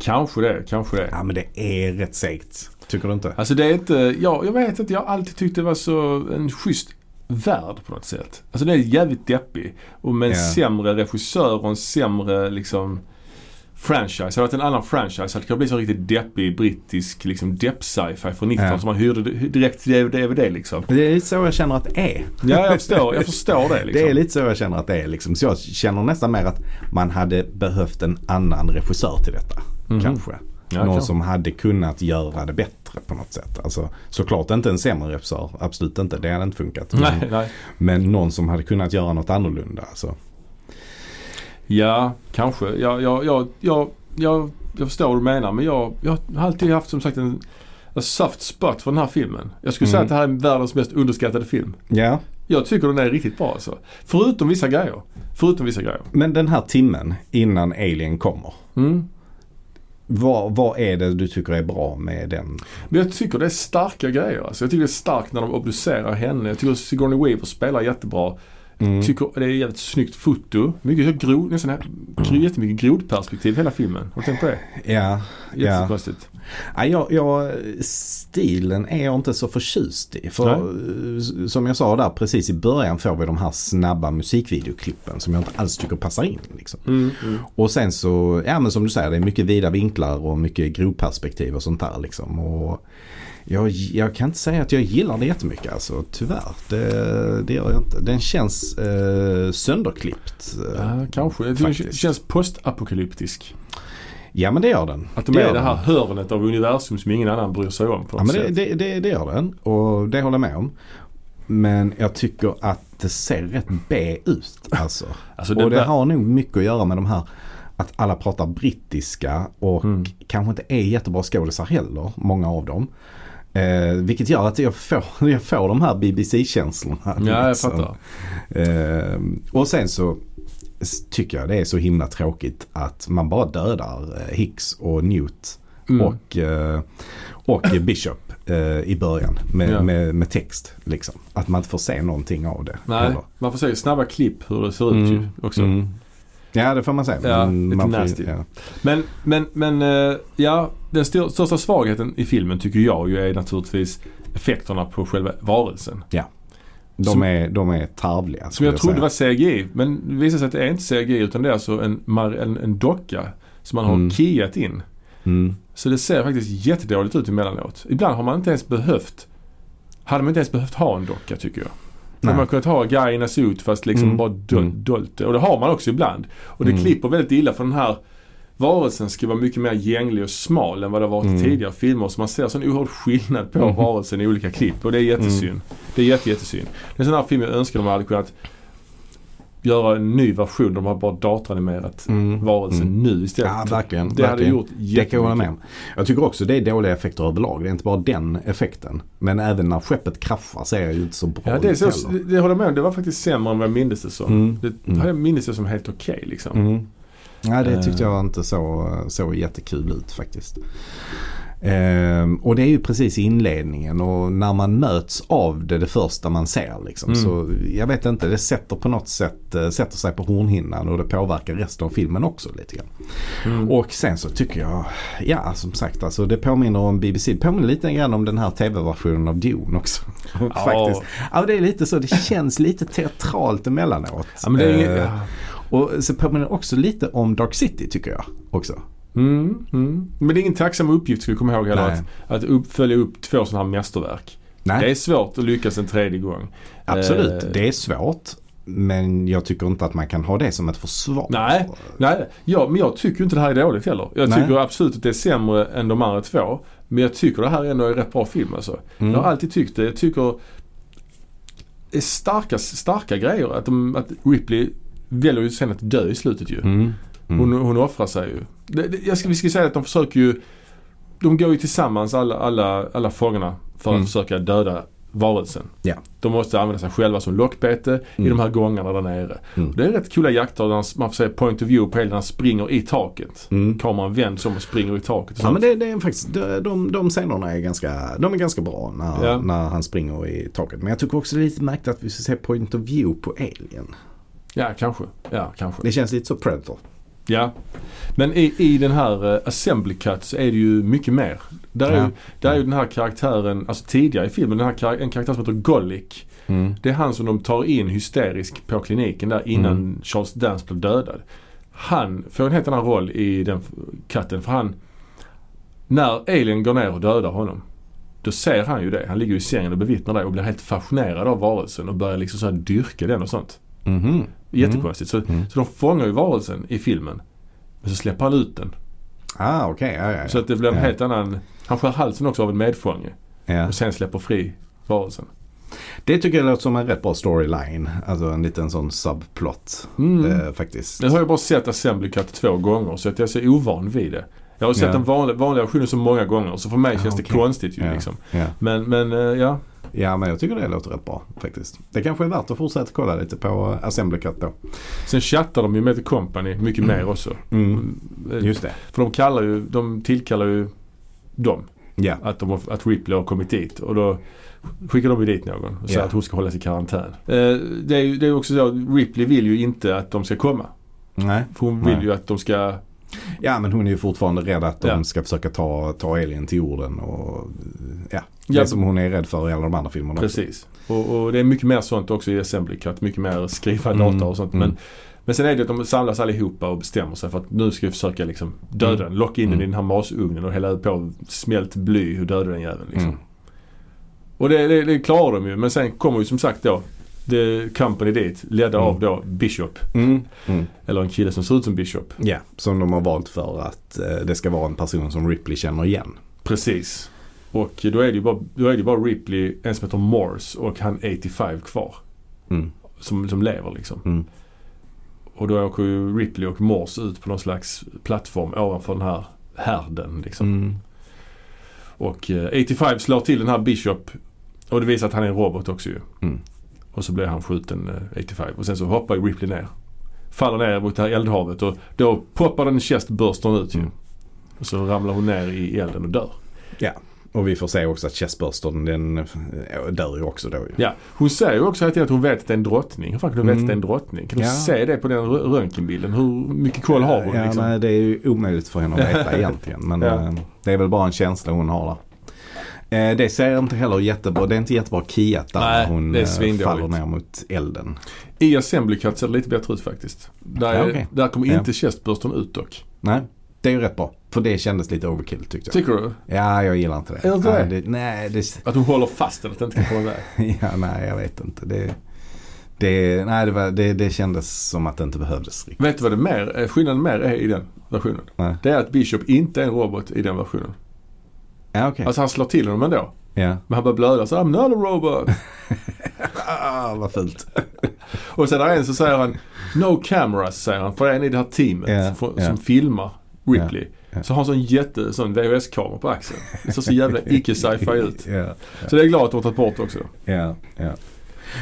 A: Kanske det, kanske det.
B: Ja men det är rätt segt. Tycker du inte?
A: Alltså det är inte, ja, jag vet inte, jag har alltid tyckt det var så en schysst värld på något sätt. Alltså det är jävligt deppig. Och med en
B: Ja.
A: sämre regissör och en sämre liksom franchise. Hade det varit en annan franchise hade det kunnat bli så riktigt deppig brittisk liksom depp-sci-fi från 90-talet
B: Ja.
A: som man hyrde direkt till DVD liksom.
B: Det är lite så jag känner att det är.
A: Ja, jag förstår, jag förstår det liksom.
B: Det är lite så jag känner att det är. Liksom. Så jag känner nästan mer att man hade behövt en annan regissör till detta. Kanske.
A: Mhm. Ja,
B: någon
A: klart.
B: som hade kunnat göra det bättre på något sätt. Alltså, såklart inte en sämre regissör, absolut inte. Det hade inte funkat. Men,
A: Nej, nej.
B: men någon som hade kunnat göra något annorlunda. Alltså.
A: Ja, kanske. Jag, jag, jag, jag, jag, jag förstår vad du menar men jag, jag har alltid haft som sagt en, en soft spot för den här filmen. Jag skulle säga
B: Mm.
A: att det här är världens mest underskattade film.
B: Ja,
A: Jag tycker den är riktigt bra alltså. Förutom vissa grejer. Förutom vissa grejer.
B: men den här timmen innan Alien kommer.
A: Mm.
B: Vad, vad är det du tycker är bra med den?
A: Men jag tycker det är starka grejer alltså. Jag tycker det är starkt när de obducerar henne. Jag tycker Sigourney Weaver spelar jättebra.
B: Mm.
A: Tycker det är jävligt snyggt foto. Mycket så grod, nästan här, gro- jättemycket grodperspektiv hela filmen. Har du tänkt på det?
B: Ja, ja.
A: Jättekonstigt.
B: Ja, jag, jag, stilen är jag inte så förtjust i. För eh, som jag sa där precis i början får vi de här snabba musikvideoklippen som jag inte alls tycker passar in. Liksom.
A: Mm, mm.
B: Och sen så, ja men som du säger det är mycket vida vinklar och mycket grovperspektiv och sånt där liksom. Och jag, jag kan inte säga att jag gillar det jättemycket alltså, tyvärr. Det, det gör jag inte. Den känns eh, sönderklippt.
A: Ja, kanske. Jag tycker det
B: Faktiskt.
A: känns postapokalyptisk.
B: Ja men det gör den.
A: Att de är
B: gör
A: i det
B: den.
A: här hörnet av universum som ingen annan bryr sig om på
B: Ja,
A: något
B: men det,
A: sätt.
B: det, det, det gör den och det håller jag med om. Men jag tycker att det ser rätt B ut alltså.
A: Alltså, det
B: och det
A: där-
B: har nog mycket att göra med de här att alla pratar brittiska och
A: Mm.
B: kanske inte är jättebra skådisar heller, många av dem. Eh, vilket gör att jag får, jag får de här BBC-känslorna.
A: Ja, jag
B: liksom.
A: fattar.
B: Eh, och sen så s- tycker jag det är så himla tråkigt att man bara dödar eh, Hicks och Newt
A: Mm.
B: och, eh, och Bishop eh, i början med,
A: Ja.
B: med, med text. Liksom. Att man inte får se någonting av det.
A: Nej,
B: heller.
A: man får se snabba klipp hur det ser ut
B: Mm.
A: ju också.
B: Mm. Ja det får man säga.
A: Ja,
B: Men
A: lite
B: man ju-
A: nasty.
B: ja.
A: Men, men, men eh, ja, den styr- största svagheten i filmen tycker jag ju är naturligtvis effekterna på själva varelsen. Som-
B: de, är, de är tarvliga.
A: Som
B: skulle
A: jag trodde
B: säga.
A: var CGI, men det visar sig att det är inte CGI utan det är alltså en, mar- en, en docka som man har
B: Mm.
A: keyat in.
B: Mm.
A: Så det ser faktiskt jättedåligt ut emellanåt. Ibland har man inte ens behövt hade man inte ens behövt ha en docka tycker jag. Då
B: Nej.
A: hade man kunnat ha guy in a suit fast liksom
B: Mm.
A: bara dol-
B: Mm.
A: dolt det. Och det har man också ibland. Och det
B: Mm.
A: klipper väldigt illa för den här varelsen ska vara mycket mer gänglig och smal än vad det har varit i
B: Mm.
A: tidigare filmer. Så man ser sån oerhörd skillnad på
B: Mm.
A: varelsen i olika klipp och det är jättesynd. Det är jätte, jättesynd. Det är en sån här film jag önskar de hade kunnat göra en ny version där de har bara datoranimerat
B: Mm.
A: varelsen
B: Mm.
A: nu istället.
B: Ja verkligen.
A: det hade
B: verkligen.
A: gjort
B: Det kan jag hålla
A: jättemycket.
B: med om. Jag tycker också det är dåliga effekter överlag. Det är inte bara den effekten. Men även när skeppet kraschar ser det ju inte så bra
A: Ja, det, är
B: ut
A: så, det,
B: heller.
A: det håller jag med om. Det var faktiskt sämre än vad jag mindes det som.
B: Mm.
A: Det
B: Mm.
A: jag mindes det som helt okej liksom.
B: Mm. Nej, det tyckte
A: Eh.
B: jag inte så, så jättekul ut faktiskt. Ehm, och det är ju precis i inledningen och när man möts av det det första man ser. Liksom,
A: Mm.
B: Så jag vet inte, det sätter på något sätt, eh, sätter sig på hornhinnan och det påverkar resten av filmen också lite grann.
A: Mm.
B: Och sen så tycker jag, ja som sagt alltså det påminner om BBC. Det påminner lite grann om den här tv-versionen av Dune också. Faktiskt. Ja, det är lite så, det känns lite teatralt emellanåt.
A: Ja, men det är inget,
B: Eh,
A: ja.
B: och så påminner det också lite om Dark City tycker jag också.
A: mm, mm. Men det är ingen tacksam uppgift ska vi komma ihåg heller.
B: Nej.
A: Att, att upp, följa upp två sådana här mästerverk.
B: Nej,
A: Det är svårt att lyckas en tredje gång.
B: absolut.
A: eh,
B: det är svårt. Men jag tycker inte att man kan ha det som ett försvar.
A: Nej. Nej, ja, men jag tycker ju inte det här är dåligt heller. Jag
B: Nej.
A: tycker absolut att det är sämre än de andra två. Men jag tycker det här ändå är en rätt bra film alltså.
B: Mm.
A: Jag har alltid tyckt det. Jag tycker det är starka, starka grejer att, de, att Ripley väljer ju sen att dö i slutet ju.
B: Mm. Mm.
A: Hon, hon offrar sig ju. Det, det, jag ska, vi ska säga att de försöker ju De går ju tillsammans alla, alla, alla fångarna för att
B: Mm.
A: försöka döda varelsen.
B: Ja.
A: De måste använda sig själva som lockbete i
B: Mm.
A: de här gångarna där nere.
B: Mm.
A: Det är rätt coola jakter där han- man får se point of view på hela när han springer i taket.
B: Mm.
A: Kameran vänds om och springer i taket. Och
B: Ja
A: sånt.
B: men det, det är faktiskt, de, de, de scenerna är ganska, de är ganska bra när,
A: Ja.
B: när han springer i taket. Men jag tycker också det är lite märkligt att vi ska se point of view på Alien.
A: Ja, kanske. Ja, kanske.
B: Det känns lite så Predator.
A: Ja. Men i, i den här eh, Assembly Cut så är det ju mycket mer. Där är,
B: Ja.
A: ju, där är ju den här karaktären, alltså tidigare i filmen, den här kar- en karaktär som heter Golic. Det är han som de tar in hysterisk på kliniken där innan
B: Mm.
A: Charles Dance blev dödad. Han får en helt annan roll i den f- katten för han... När Alien går ner och dödar honom. Då ser han ju det. Han ligger ju i sängen och bevittnar det och blir helt fascinerad av varelsen och börjar liksom så här dyrka den och sånt. Mm-hmm.
B: Mhm.
A: Jättekonstigt. Så,
B: Mm.
A: så de fångar ju varelsen i filmen. Men så släpper han ut den.
B: Ah, okej. Ja, ja, ja.
A: Så att det blir en
B: Ja.
A: helt annan... Han skär halsen också av en medfånge
B: ja.
A: och sen släpper fri varelsen.
B: Det tycker jag låter som en rätt bra storyline. Alltså en liten sån subplot
A: Mm.
B: eh, faktiskt.
A: Nu har jag bara sett Assembly Cut två gånger så att jag är så ovan vid det. Jag har sett
B: Ja.
A: den vanliga, vanliga versionen så många gånger så för mig
B: Ah,
A: känns det
B: okej.
A: konstigt ju
B: Ja.
A: liksom.
B: Ja.
A: Men, men eh, ja.
B: ja, men jag tycker det låter rätt bra faktiskt. Det kanske är värt att fortsätta kolla lite på eh, Assembly Cut då.
A: Sen chattar de ju med The Company mycket mer också.
B: Mm.
A: Eh,
B: Just det.
A: För de kallar ju, de tillkallar ju dem.
B: Ja.
A: Att, de, har- att Ripley har kommit dit och då skickar de ju dit någon och säger
B: Ja.
A: att hon ska hållas i karantän. Eh, det är ju det är ju också så att Ripley vill ju inte att de ska komma.
B: Nej.
A: För hon vill
B: Nej.
A: ju att de ska
B: Ja, men hon är ju fortfarande rädd att de
A: Ja.
B: ska försöka ta, ta Alien till jorden. Och, ja.
A: Ja.
B: Det som hon är rädd för i alla de andra filmerna. också.
A: Precis. Och, och det är mycket mer sånt också i Assembly Cut. Mycket mer skriva
B: Mm,
A: data och sånt.
B: mm.
A: Men, men sen är det att de samlas allihopa och bestämmer sig för att nu ska vi försöka liksom döda
B: Mm.
A: den. Locka in den i
B: Mm.
A: den här masugnen och hälla på smält bly och döda den jäveln. Liksom.
B: Mm.
A: Och det, det, det klarar de ju. Men sen kommer ju som sagt då The Company dit. Ledda
B: Mm.
A: av då Bishop.
B: Mm. Mm.
A: Eller en kille som ser ut som Bishop.
B: Ja, som de har valt för att eh, det ska vara en person som Ripley känner igen.
A: Precis. Och då är det ju bara, då är det ju bara Ripley, en som heter Morse och han 85 kvar.
B: Mm.
A: Som, som lever liksom.
B: Mm.
A: Och då åker ju Ripley och Morse ut på någon slags plattform ovanför den här härden. Liksom.
B: Mm.
A: Och eh, 85 slår till den här Bishop och det visar att han är en robot också ju.
B: Mm.
A: Och så blir han skjuten eh, 85 och sen så hoppar ju Ripley ner. Faller ner mot det här eldhavet och då poppar den chestburstern ut ju.
B: Mm.
A: Och så ramlar hon ner i elden och dör.
B: Och vi får se också att chestburstern den eh, dör ju också då ju.
A: Ja, hon säger ju också hela tiden att hon vet att det är en drottning. Hur fan kan hon veta
B: Mm.
A: att det är en drottning? Kan du
B: Ja.
A: se det på den rö- röntgenbilden? Hur mycket koll har hon
B: ja,
A: liksom?
B: nej, det är ju omöjligt för henne att veta egentligen. Men
A: Ja.
B: eh, det är väl bara en känsla hon har där. Eh, Det ser inte heller jättebra, det är inte jättebra kiat där
A: Nej,
B: när hon
A: det är
B: eh,
A: svindåligt.
B: faller ner mot elden.
A: I Assembly Cut ser det lite bättre ut faktiskt. Där,
B: Ja, okej.
A: där kommer
B: Ja.
A: inte chestburstern ut dock.
B: Nej, det är ju rätt bra. För det kändes lite overkill tyckte jag.
A: Tycker du?
B: Ja, jag gillar inte det.
A: Är det inte
B: nej,
A: det?
B: det, nej, det,
A: Att hon håller fast den, att den inte kan komma iväg.
B: ja, nej jag vet inte. Det, det, nej, det, var, det, det kändes som att det inte behövdes riktigt.
A: Vet du vad det mer, eh, skillnaden mer är i den versionen?
B: Nej.
A: Det är att Bishop inte är en robot i den versionen.
B: Ja, okej.
A: Alltså han slår till honom ändå.
B: Ja.
A: Men han börjar blöda så I'm not a robot.
B: Ah, vad fult.
A: Och sen är en så säger han No cameras säger han. För en i det här teamet
B: Ja,
A: för,
B: ja.
A: som filmar Ripley.
B: ja.
A: Så har han sån jätte sån VHS-kamera på axeln. Det ser så jävla icke sci-fi ut.
B: Ja,
A: Så det är jag glad att de har tagit bort också.
B: ja, ja.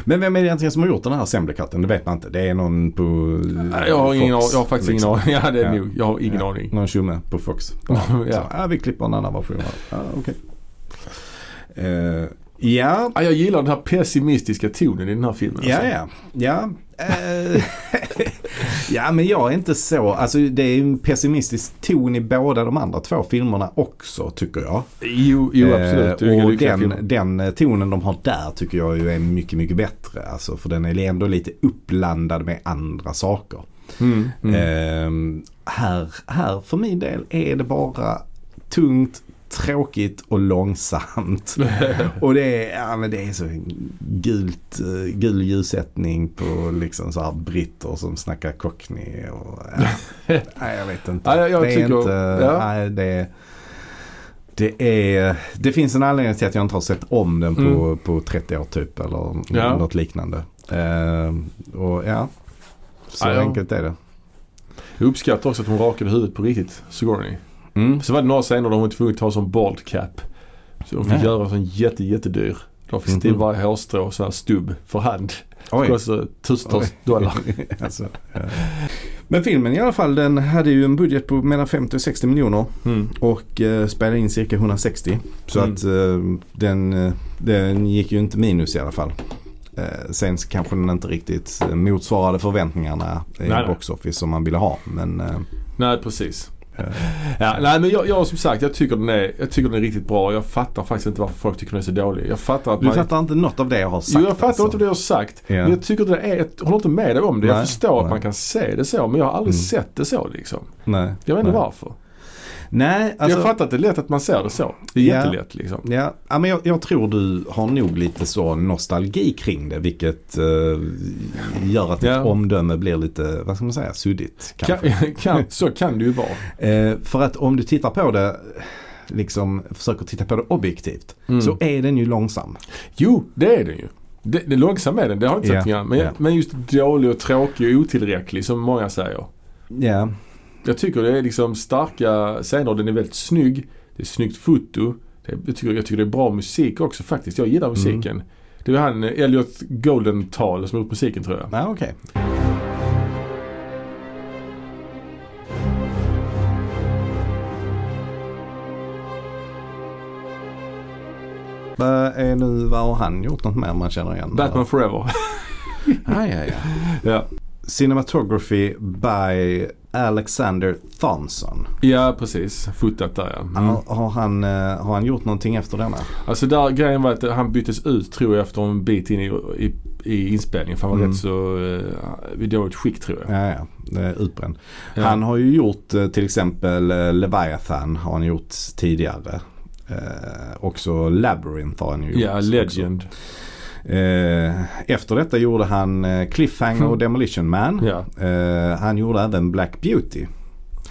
B: Men vem är det egentligen som har gjort den här Assembly Cutten? Det vet man inte. Det är någon på...
A: Nej, Jag har, ingen, aning- jag har faktiskt ingen aning. Ja det är
B: liksom. Ja.
A: nog. Jag har ingen
B: Ja,
A: aning.
B: Någon tjomme på Fox.
A: Ja.
B: Så, ah, vi klipper en annan version. här. Ah, okay. Eh, ja,
A: Ja, jag gillar den här pessimistiska tonen i den här filmen.
B: Ja,
A: alltså.
B: ja. Ja. eh, ja, men jag är inte så. Alltså det är ju en pessimistisk ton i båda de andra två filmerna också tycker jag.
A: Jo, jo absolut. Det är
B: Eh,
A: ju
B: och
A: lyckliga
B: den,
A: filmer.
B: den eh, tonen de har där tycker jag ju är mycket, mycket bättre. Alltså, för den är ändå lite uppblandad med andra saker.
A: Mm, mm.
B: Eh, här, här för min del är det bara tungt, tråkigt och långsamt. Och det är, ja, men det är så gult, eh, gul ljussättning på liksom så här britter som snackar cockney. Och, ja. nej, jag vet inte.
A: Ja, jag- jag
B: det är
A: tycker-
B: inte,
A: ja.
B: nej, det, det är, det finns en anledning till att jag inte har sett om den på,
A: Mm.
B: på 30 år typ eller n-
A: Ja.
B: något liknande. Ehm, och ja, så
A: Ja, ja.
B: enkelt är det.
A: Jag uppskattar också att hon rakade huvudet på riktigt, Sigourney.
B: Mm.
A: Så var det några scener där hon var tvungen att ta en sån bald cap. Så hon fick
B: Ja.
A: göra en sån jätte, jättedyr. De fick till
B: Mhm.
A: varje hårstrå så här stubb för hand. Det
B: Oj.
A: kostade tusentals dollar.
B: alltså, ja. Men filmen i alla fall den hade ju en budget på mellan 50 och 60 miljoner.
A: Mm.
B: Och eh, spelade in cirka 160. Så
A: Mm.
B: att eh, den, eh, den gick ju inte minus i alla fall. Eh, sen så kanske den inte riktigt eh, motsvarade förväntningarna i
A: nej.
B: box office som man ville ha. Men eh,
A: Nej, precis.
B: Ja.
A: Ja, nej, men jag, jag som sagt, jag tycker, den är, jag tycker den är riktigt bra. Jag fattar faktiskt inte varför folk tycker den är så dålig. Jag fattar att
B: du
A: man...
B: fattar inte något av det jag har sagt
A: Jo, jag fattar
B: alltså.
A: inte det jag har sagt.
B: Ja.
A: Men jag tycker det är... Jag håller inte med dig om det. Jag
B: Nej,
A: förstår att
B: nej.
A: man kan se det så, men jag har aldrig
B: Mm.
A: sett det så liksom.
B: Nej.
A: Jag vet inte
B: nej.
A: varför.
B: Nej, alltså.
A: jag fattar att det är lätt att man ser det så. Det är
B: Ja.
A: jättelätt liksom.
B: Ja, ja, men jag, jag tror du har nog lite så nostalgi kring det vilket eh, gör att ditt
A: Ja.
B: omdöme blir lite, vad ska man säga, suddigt.
A: Kan,
B: Kanske.
A: kan, så kan det ju vara.
B: Eh, för att om du tittar på det, liksom försöker titta på det objektivt,
A: Mm.
B: så är den ju långsam.
A: Jo, det är den ju. Det, det långsamma är den, det har jag inte
B: Ja,
A: sagt yeah. men,
B: ja.
A: men just dålig och tråkig och otillräcklig som många säger.
B: Ja,
A: Jag tycker det är liksom starka scener. Den är väldigt snygg. Det är snyggt foto. Det, jag, tycker, jag tycker det är bra musik också faktiskt. Jag
B: Mm.
A: gillar musiken. Det var han eh, Elliot Goldenthal som har gjort musiken tror jag.
B: ja okej. Vad är nu, vad har han gjort något mer man känner igen?
A: Batman Forever.
B: Ja, ja, ja.
A: ja.
B: Cinematography by Alexander Thomson.
A: ja, precis. Fotat där ja. Mm.
B: Har, har, han, eh, har han gjort någonting efter denna?
A: Alltså där grejen var att han byttes ut tror jag efter en bit in i, i, i inspelningen. För han var
B: Mm.
A: rätt så eh, i dåligt skick tror jag.
B: Ja, ja. det är Utbränd.
A: Ja.
B: Han har ju gjort eh, till exempel eh, Leviathan har han gjort tidigare. Eh, också Labyrinth har han ju gjort.
A: Ja, Legend.
B: också. Eh, efter detta gjorde han eh, Cliffhanger och Demolition Man.
A: Mm. Ja.
B: Eh, han gjorde även Black Beauty.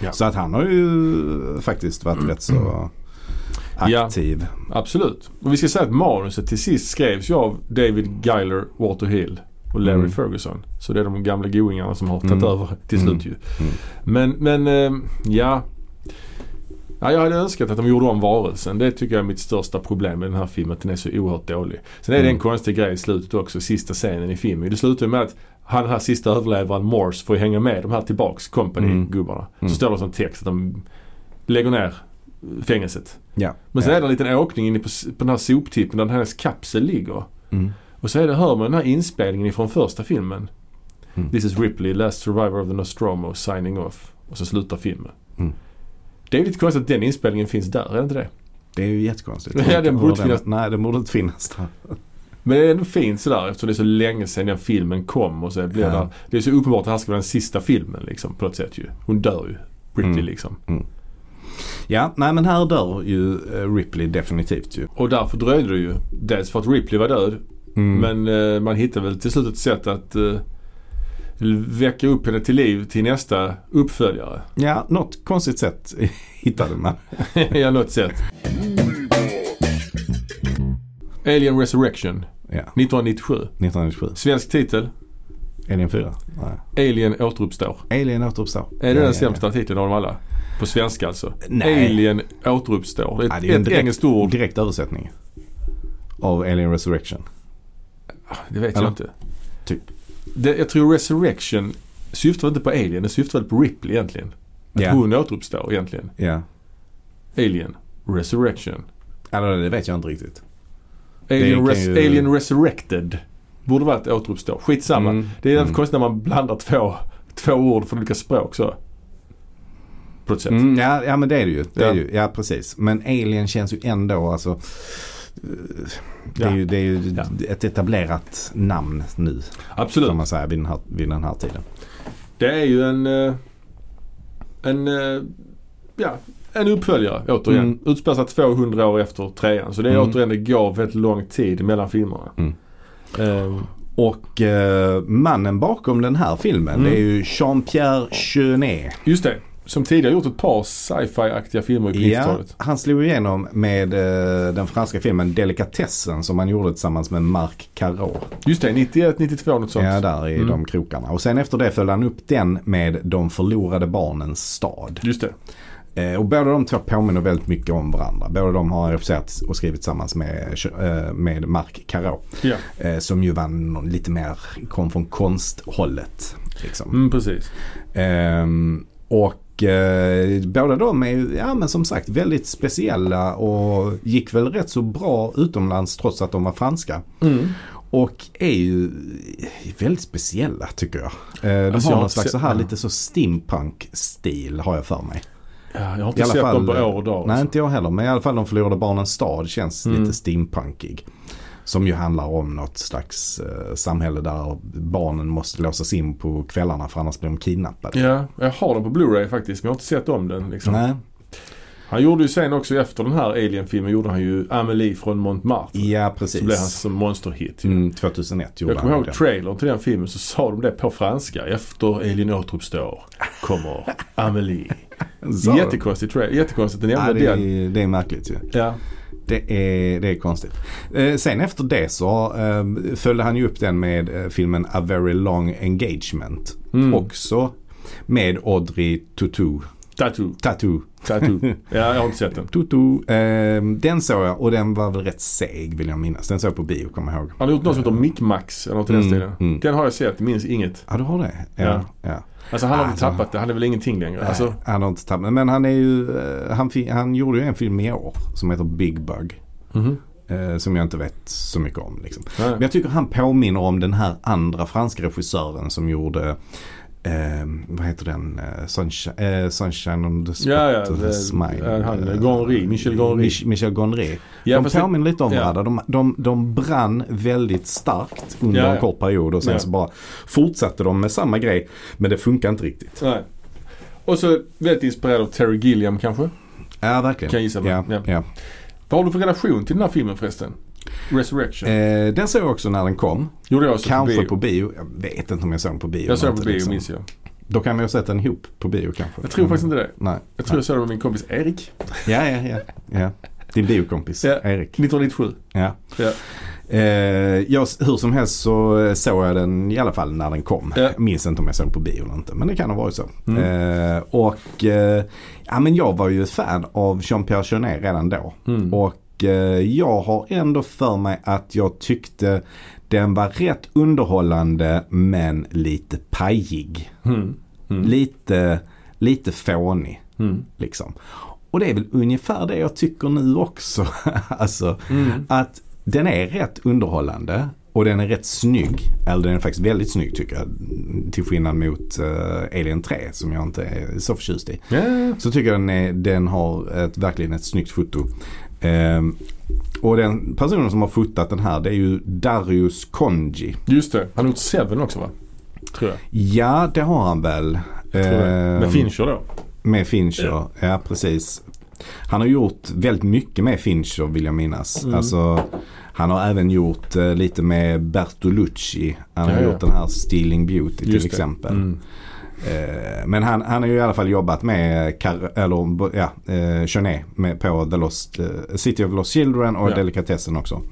A: Ja. Mm.
B: Så att han har ju eh, faktiskt varit rätt så
A: Ja.
B: aktiv.
A: Absolut. Och vi ska säga att manuset till sist skrevs ju av David Giler, Walter Hill och Larry
B: Mm.
A: Ferguson. Så det är de gamla goingarna som har tagit
B: Mm.
A: över till
B: Mm.
A: slut ju. Men, men eh, ja. ja. Jag hade önskat att de gjorde om varelsen. Det tycker jag är mitt största problem med den här filmen. Att den är så oerhört dålig. Sen är det en
B: Mm.
A: konstig grej i slutet också. Sista scenen i filmen. Det slutar ju med att han den här sista överlevaren Morse får ju hänga med de här tillbaks Company-gubbarna.
B: Mm.
A: Så står det som text att de lägger ner fängelset.
B: Ja.
A: Men sen
B: ja.
A: är det en liten åkning inne på, s- på den här soptippen där hennes kapsel ligger.
B: Mm.
A: Och så är det, hör man den här inspelningen från första filmen.
B: Mm.
A: This is Ripley, last survivor of the Nostromo, signing off. Och så slutar filmen.
B: Mm.
A: Det är ju lite konstigt att den inspelningen finns där, är det inte det?
B: Det är ju jättekonstigt.
A: Ja, den borde
B: Hur
A: finnas-
B: Nej, den borde inte finnas där.
A: Men det är ändå fint sådär eftersom det är så länge sedan den filmen kom. Och så blir
B: Ja.
A: det, det är så uppenbart att det här ska vara den sista filmen liksom, på något sätt ju. Hon dör ju, Ripley
B: Mm.
A: liksom.
B: Ja, nej men här dör ju eh, Ripley definitivt ju.
A: Och därför dröjde det ju. Dels för att Ripley var död
B: Mm.
A: Men eh, man hittar väl till slut ett sätt att eh, väcka upp henne till liv till nästa uppföljare.
B: Ja, något konstigt sätt hittade man.
A: ja, något sätt.
B: Mm.
A: Alien Resurrection
B: Ja,
A: 1997.
B: 1997.
A: Svensk titel.
B: Alien 4? Nej.
A: Alien återuppstår.
B: Alien återuppstår.
A: Är det
B: Ja,
A: den
B: ja,
A: sämsta titeln av dem alla? På svenska alltså.
B: Nej.
A: Alien återuppstår. Det är ett,
B: Ja, det är en
A: ett
B: direkt-
A: engelskt
B: Ja.
A: ord.
B: Direkt översättning. Av Alien Resurrection.
A: Det vet
B: Eller?
A: jag inte.
B: Typ.
A: Det, jag tror Resurrection syftar inte på Alien. Den syftar väl på Ripley egentligen. Att
B: Ja.
A: hon återuppstår egentligen.
B: Ja.
A: Alien Resurrection.
B: Eller det vet jag inte riktigt.
A: Alien,
B: Det
A: res-
B: kan ju-
A: Alien Resurrected. Borde vara ett återuppstå. Skitsamma.
B: Mm,
A: Det är
B: mm.
A: jävligt konstigt när man blandar två, två ord från olika språk så. På ett sätt.
B: Mm, ja, ja men det är det ju. Det
A: Ja.
B: Är det ju. Ja precis. Men Alien känns ju ändå alltså. eh, Det är
A: Ja.
B: ju, det är ju
A: Ja.
B: ett etablerat namn nu.
A: Absolut.
B: Kan man säga vid den här, vid den här tiden.
A: Det är ju en... eh, En... eh, Ja, en uppföljare återigen.
B: Mm.
A: Utspelar sig 200 år efter trean. Så det är
B: Mm.
A: återigen, det går väldigt lång tid mellan filmerna.
B: Mm.
A: Ehm,
B: Och eh, mannen bakom den här filmen
A: Mm.
B: det är ju Jean-Pierre Jeunet.
A: just det. Som tidigare gjort ett par sci-fi-aktiga filmer i på 90-talet.
B: han slog igenom med eh, den franska filmen Delikatessen som han gjorde tillsammans med Marc Caro.
A: Just det, 91, 92 något sånt.
B: Ja, där i
A: Mm.
B: de krokarna. Och sen efter det följde han upp den med De förlorade barnens stad.
A: Just det.
B: Eh, och båda de två påminner väldigt mycket om varandra. Båda de har regisserat och skrivit tillsammans med, eh, med Marc Caro.
A: Ja,
B: Eh, som ju var någon, lite mer, kom från konsthållet. Liksom.
A: mm, precis.
B: Ehm, och eh, båda de är ju, ja men som sagt väldigt speciella och gick väl rätt så bra utomlands trots att de var franska.
A: Mm.
B: Och är ju väldigt speciella tycker jag. Eh, de
A: Alltså, jag
B: har
A: har
B: någon slags
A: sett-
B: så här
A: ja.
B: lite så steampunk-stil har jag för mig.
A: Ja, jag har
B: I
A: inte
B: alla
A: sett
B: fall- eh,
A: dem på år och dag.
B: Nej
A: alltså.
B: inte jag heller men i alla fall de förlorade barnens stad känns
A: Mm.
B: lite steampunkig. Som ju handlar om något slags eh, samhälle där barnen måste låsas in på kvällarna för annars blir de kidnappade.
A: Ja, jag har dem på Blu-ray faktiskt men jag har inte sett om den. Liksom.
B: Nej.
A: Han gjorde ju sen också efter den här Alien-filmen gjorde han ju Amelie från Montmartre.
B: Ja,
A: Så blev
B: precis.
A: hans monsterhit. ju.
B: Mm, 2001 gjorde
A: Jag kommer
B: han
A: ihåg
B: det.
A: trailern till den filmen så sa de det på franska. Efter Alien återuppstår kommer Amelie.
B: Sa de?
A: Jättekonstig trailer. Jättekonstigt att
B: Ja,
A: nämna
B: det,
A: den.
B: är, det är märkligt ju.
A: Ja.
B: Det är, det är konstigt. Eh, sen efter det så eh, följde han ju upp den med eh, filmen A Very Long Engagement.
A: Mm.
B: Också med Audrey Tutu.
A: Tattoo.
B: Tattoo.
A: Tattoo. ja, jag har inte sett den.
B: Tutu. Eh, den såg jag och den var väl rätt seg vill jag minnas. Den såg jag på bio kommer jag ihåg.
A: Han har gjort något som heter Micmax eller något i den
B: Mm,
A: stilen.
B: mm.
A: Den har jag sett, minns inget.
B: Ja du har det?
A: Ja.
B: ja.
A: Alltså han har väl
B: Alltså.
A: tappat det, han är väl ingenting längre. Alltså,
B: Nej, han har inte tappat. Men han är ju, eh, han, fi- han gjorde ju en film i år som heter Big Bug.
A: mhm.
B: Eh, som jag inte vet så mycket om liksom.
A: Nej.
B: Men jag tycker han påminner om den här andra franska regissören som gjorde eh, vad heter den? Eh, Sunshine, eh, Sunshine on the spot
A: Ja, ja,
B: of
A: det-
B: smile.
A: ja, han,
B: Eh,
A: Gonry, Michel Gonry.
B: Mich- Michel Gonry.
A: Ja,
B: de
A: fast det-
B: påminner lite om
A: ja.
B: varandra. De, de, de brann väldigt starkt under
A: Ja, ja.
B: en kort period och sen
A: Ja.
B: så bara fortsatte de med samma grej. Men det funkar inte riktigt.
A: Nej. Och så väldigt inspirerad av Terry Gilliam kanske.
B: Ja, verkligen.
A: Kan jag gissa på.
B: ja,
A: Ja.
B: ja.
A: Vad har du för relation till den här filmen förresten? Resurrection.
B: Eh, den såg jag också när den kom.
A: Gjorde jag så
B: Kanske
A: på bio.
B: på bio. Jag vet inte om jag såg den på bio.
A: Jag såg den
B: eller
A: på
B: inte,
A: bio
B: liksom.
A: minns jag.
B: Då kan vi ha sett den ihop på bio kanske. Mm.
A: Jag tror faktiskt inte det.
B: Nej.
A: Jag tror jag såg den med min kompis Erik.
B: Ja, ja, ja. ja. Din biokompis
A: Ja.
B: Erik.
A: 1997.
B: Ja.
A: Ja.
B: Eh, jag, hur som helst så eh, såg jag den i alla fall när den kom.
A: Ja.
B: Minns inte om jag såg den på bio eller inte. Men det kan ha varit så.
A: Mm.
B: Eh, och eh, ja, men jag var ju ett fan av Jean-Pierre Jeunet redan då.
A: Mm.
B: Och eh, jag har ändå för mig att jag tyckte den var rätt underhållande men lite pajig.
A: Mm. Mm.
B: Lite, lite fånig.
A: Mm.
B: Liksom. Och det är väl ungefär det jag tycker nu också. alltså,
A: Mm.
B: att den är rätt underhållande och den är rätt snygg. Eller den är faktiskt väldigt snygg tycker jag. Till skillnad mot eh, Alien 3 som jag inte är så förtjust i.
A: Ja.
B: Så tycker jag den, är, den har ett, verkligen ett snyggt foto. Ehm, och den personen som har fotat den här det är ju Darius Konji.
A: Just det. Han har gjort Seven också va? Tror jag.
B: Ja det har han väl.
A: Tror jag. Med
B: Ehm,
A: Fincher då.
B: Med Fincher, ja precis. Han har gjort väldigt mycket med Fincher vill jag minnas.
A: Mm.
B: Alltså, han har även gjort eh, lite med Bertolucci. Han har
A: Ja, ja.
B: gjort den här Stealing Beauty till
A: Just det.
B: exempel.
A: Mm.
B: Eh, men han, han har ju i alla fall jobbat med Car- eller, ja, eh, Jeunet med, på The Lost, eh, City of Lost Children och
A: Ja.
B: Delikatessen också.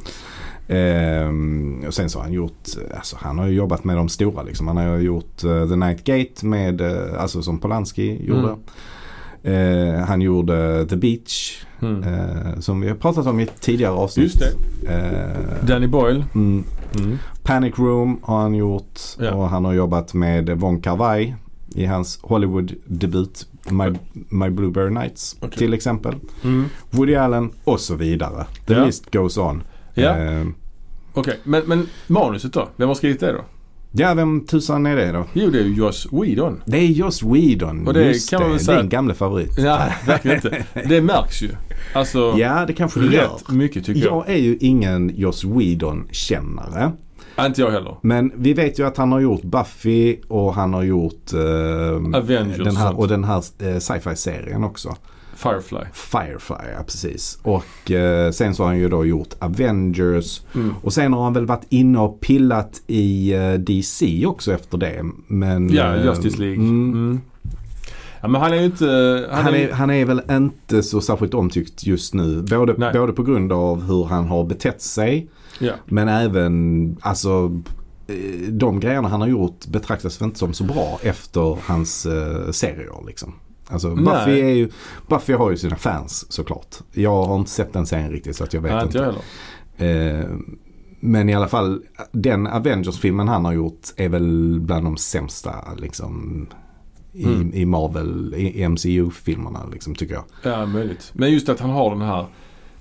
B: Ehm, och sen så har han gjort, alltså han har ju jobbat med de stora liksom. Han har ju gjort eh, The Night Gate med, eh, alltså som Polanski gjorde.
A: Mm.
B: Eh, han gjorde The Beach
A: Mm.
B: eh, som vi har pratat om i ett tidigare avsnitt.
A: Just
B: Eh,
A: Danny Boyle.
B: mm,
A: Mm.
B: Panic Room har han gjort
A: Ja.
B: och han har jobbat med Von Carvai i hans Hollywood-debut My, My Blueberry Nights
A: Okej.
B: till exempel.
A: Mm.
B: Woody Allen och så vidare. The
A: Ja.
B: list goes on.
A: Ja,
B: Eh,
A: okej. Men, men manuset då? Vem har skrivit det då?
B: ja, vem tusan är det då?
A: Jo, det är ju Joss Whedon.
B: Det är Joss Whedon.
A: Och det
B: Just
A: kan man väl
B: det.
A: säga
B: Din
A: att-
B: gamle favorit.
A: Nej, verkligen inte. Det märks ju. Alltså,
B: Ja, det kanske det gör.
A: rätt mycket tycker jag.
B: Jag är ju ingen Joss Whedon-kännare.
A: Nej, Inte jag heller.
B: Men vi vet ju att han har gjort Buffy och han har gjort eh,
A: Avengers
B: den här,
A: och
B: och den här eh, sci-fi-serien också.
A: Firefly.
B: Firefly, ja precis. Och eh, sen så har han ju då gjort Avengers.
A: Mm.
B: Och sen har han väl varit inne och pillat i eh, DC också efter det. Men,
A: Ja,
B: eh,
A: Justice League.
B: mm,
A: Mm. Ja, men han är ju inte...
B: han, är, han är väl inte så särskilt omtyckt just nu. Både,
A: Nej.
B: både på grund av hur han har betett sig
A: Ja.
B: men även alltså eh, de grejerna han har gjort betraktas väl inte som så bra efter hans eh, serier liksom. Alltså Buffy,
A: Nej.
B: är ju, Buffy har ju sina fans såklart. Jag har inte sett den serien riktigt så att jag vet
A: Nej, inte
B: inte.
A: jag heller.
B: Eh, men i alla fall, den Avengers-filmen han har gjort är väl bland de sämsta liksom, i,
A: Mm.
B: i Marvel, i MCU-filmerna liksom, tycker jag.
A: Ja, möjligt. Men just att han har den här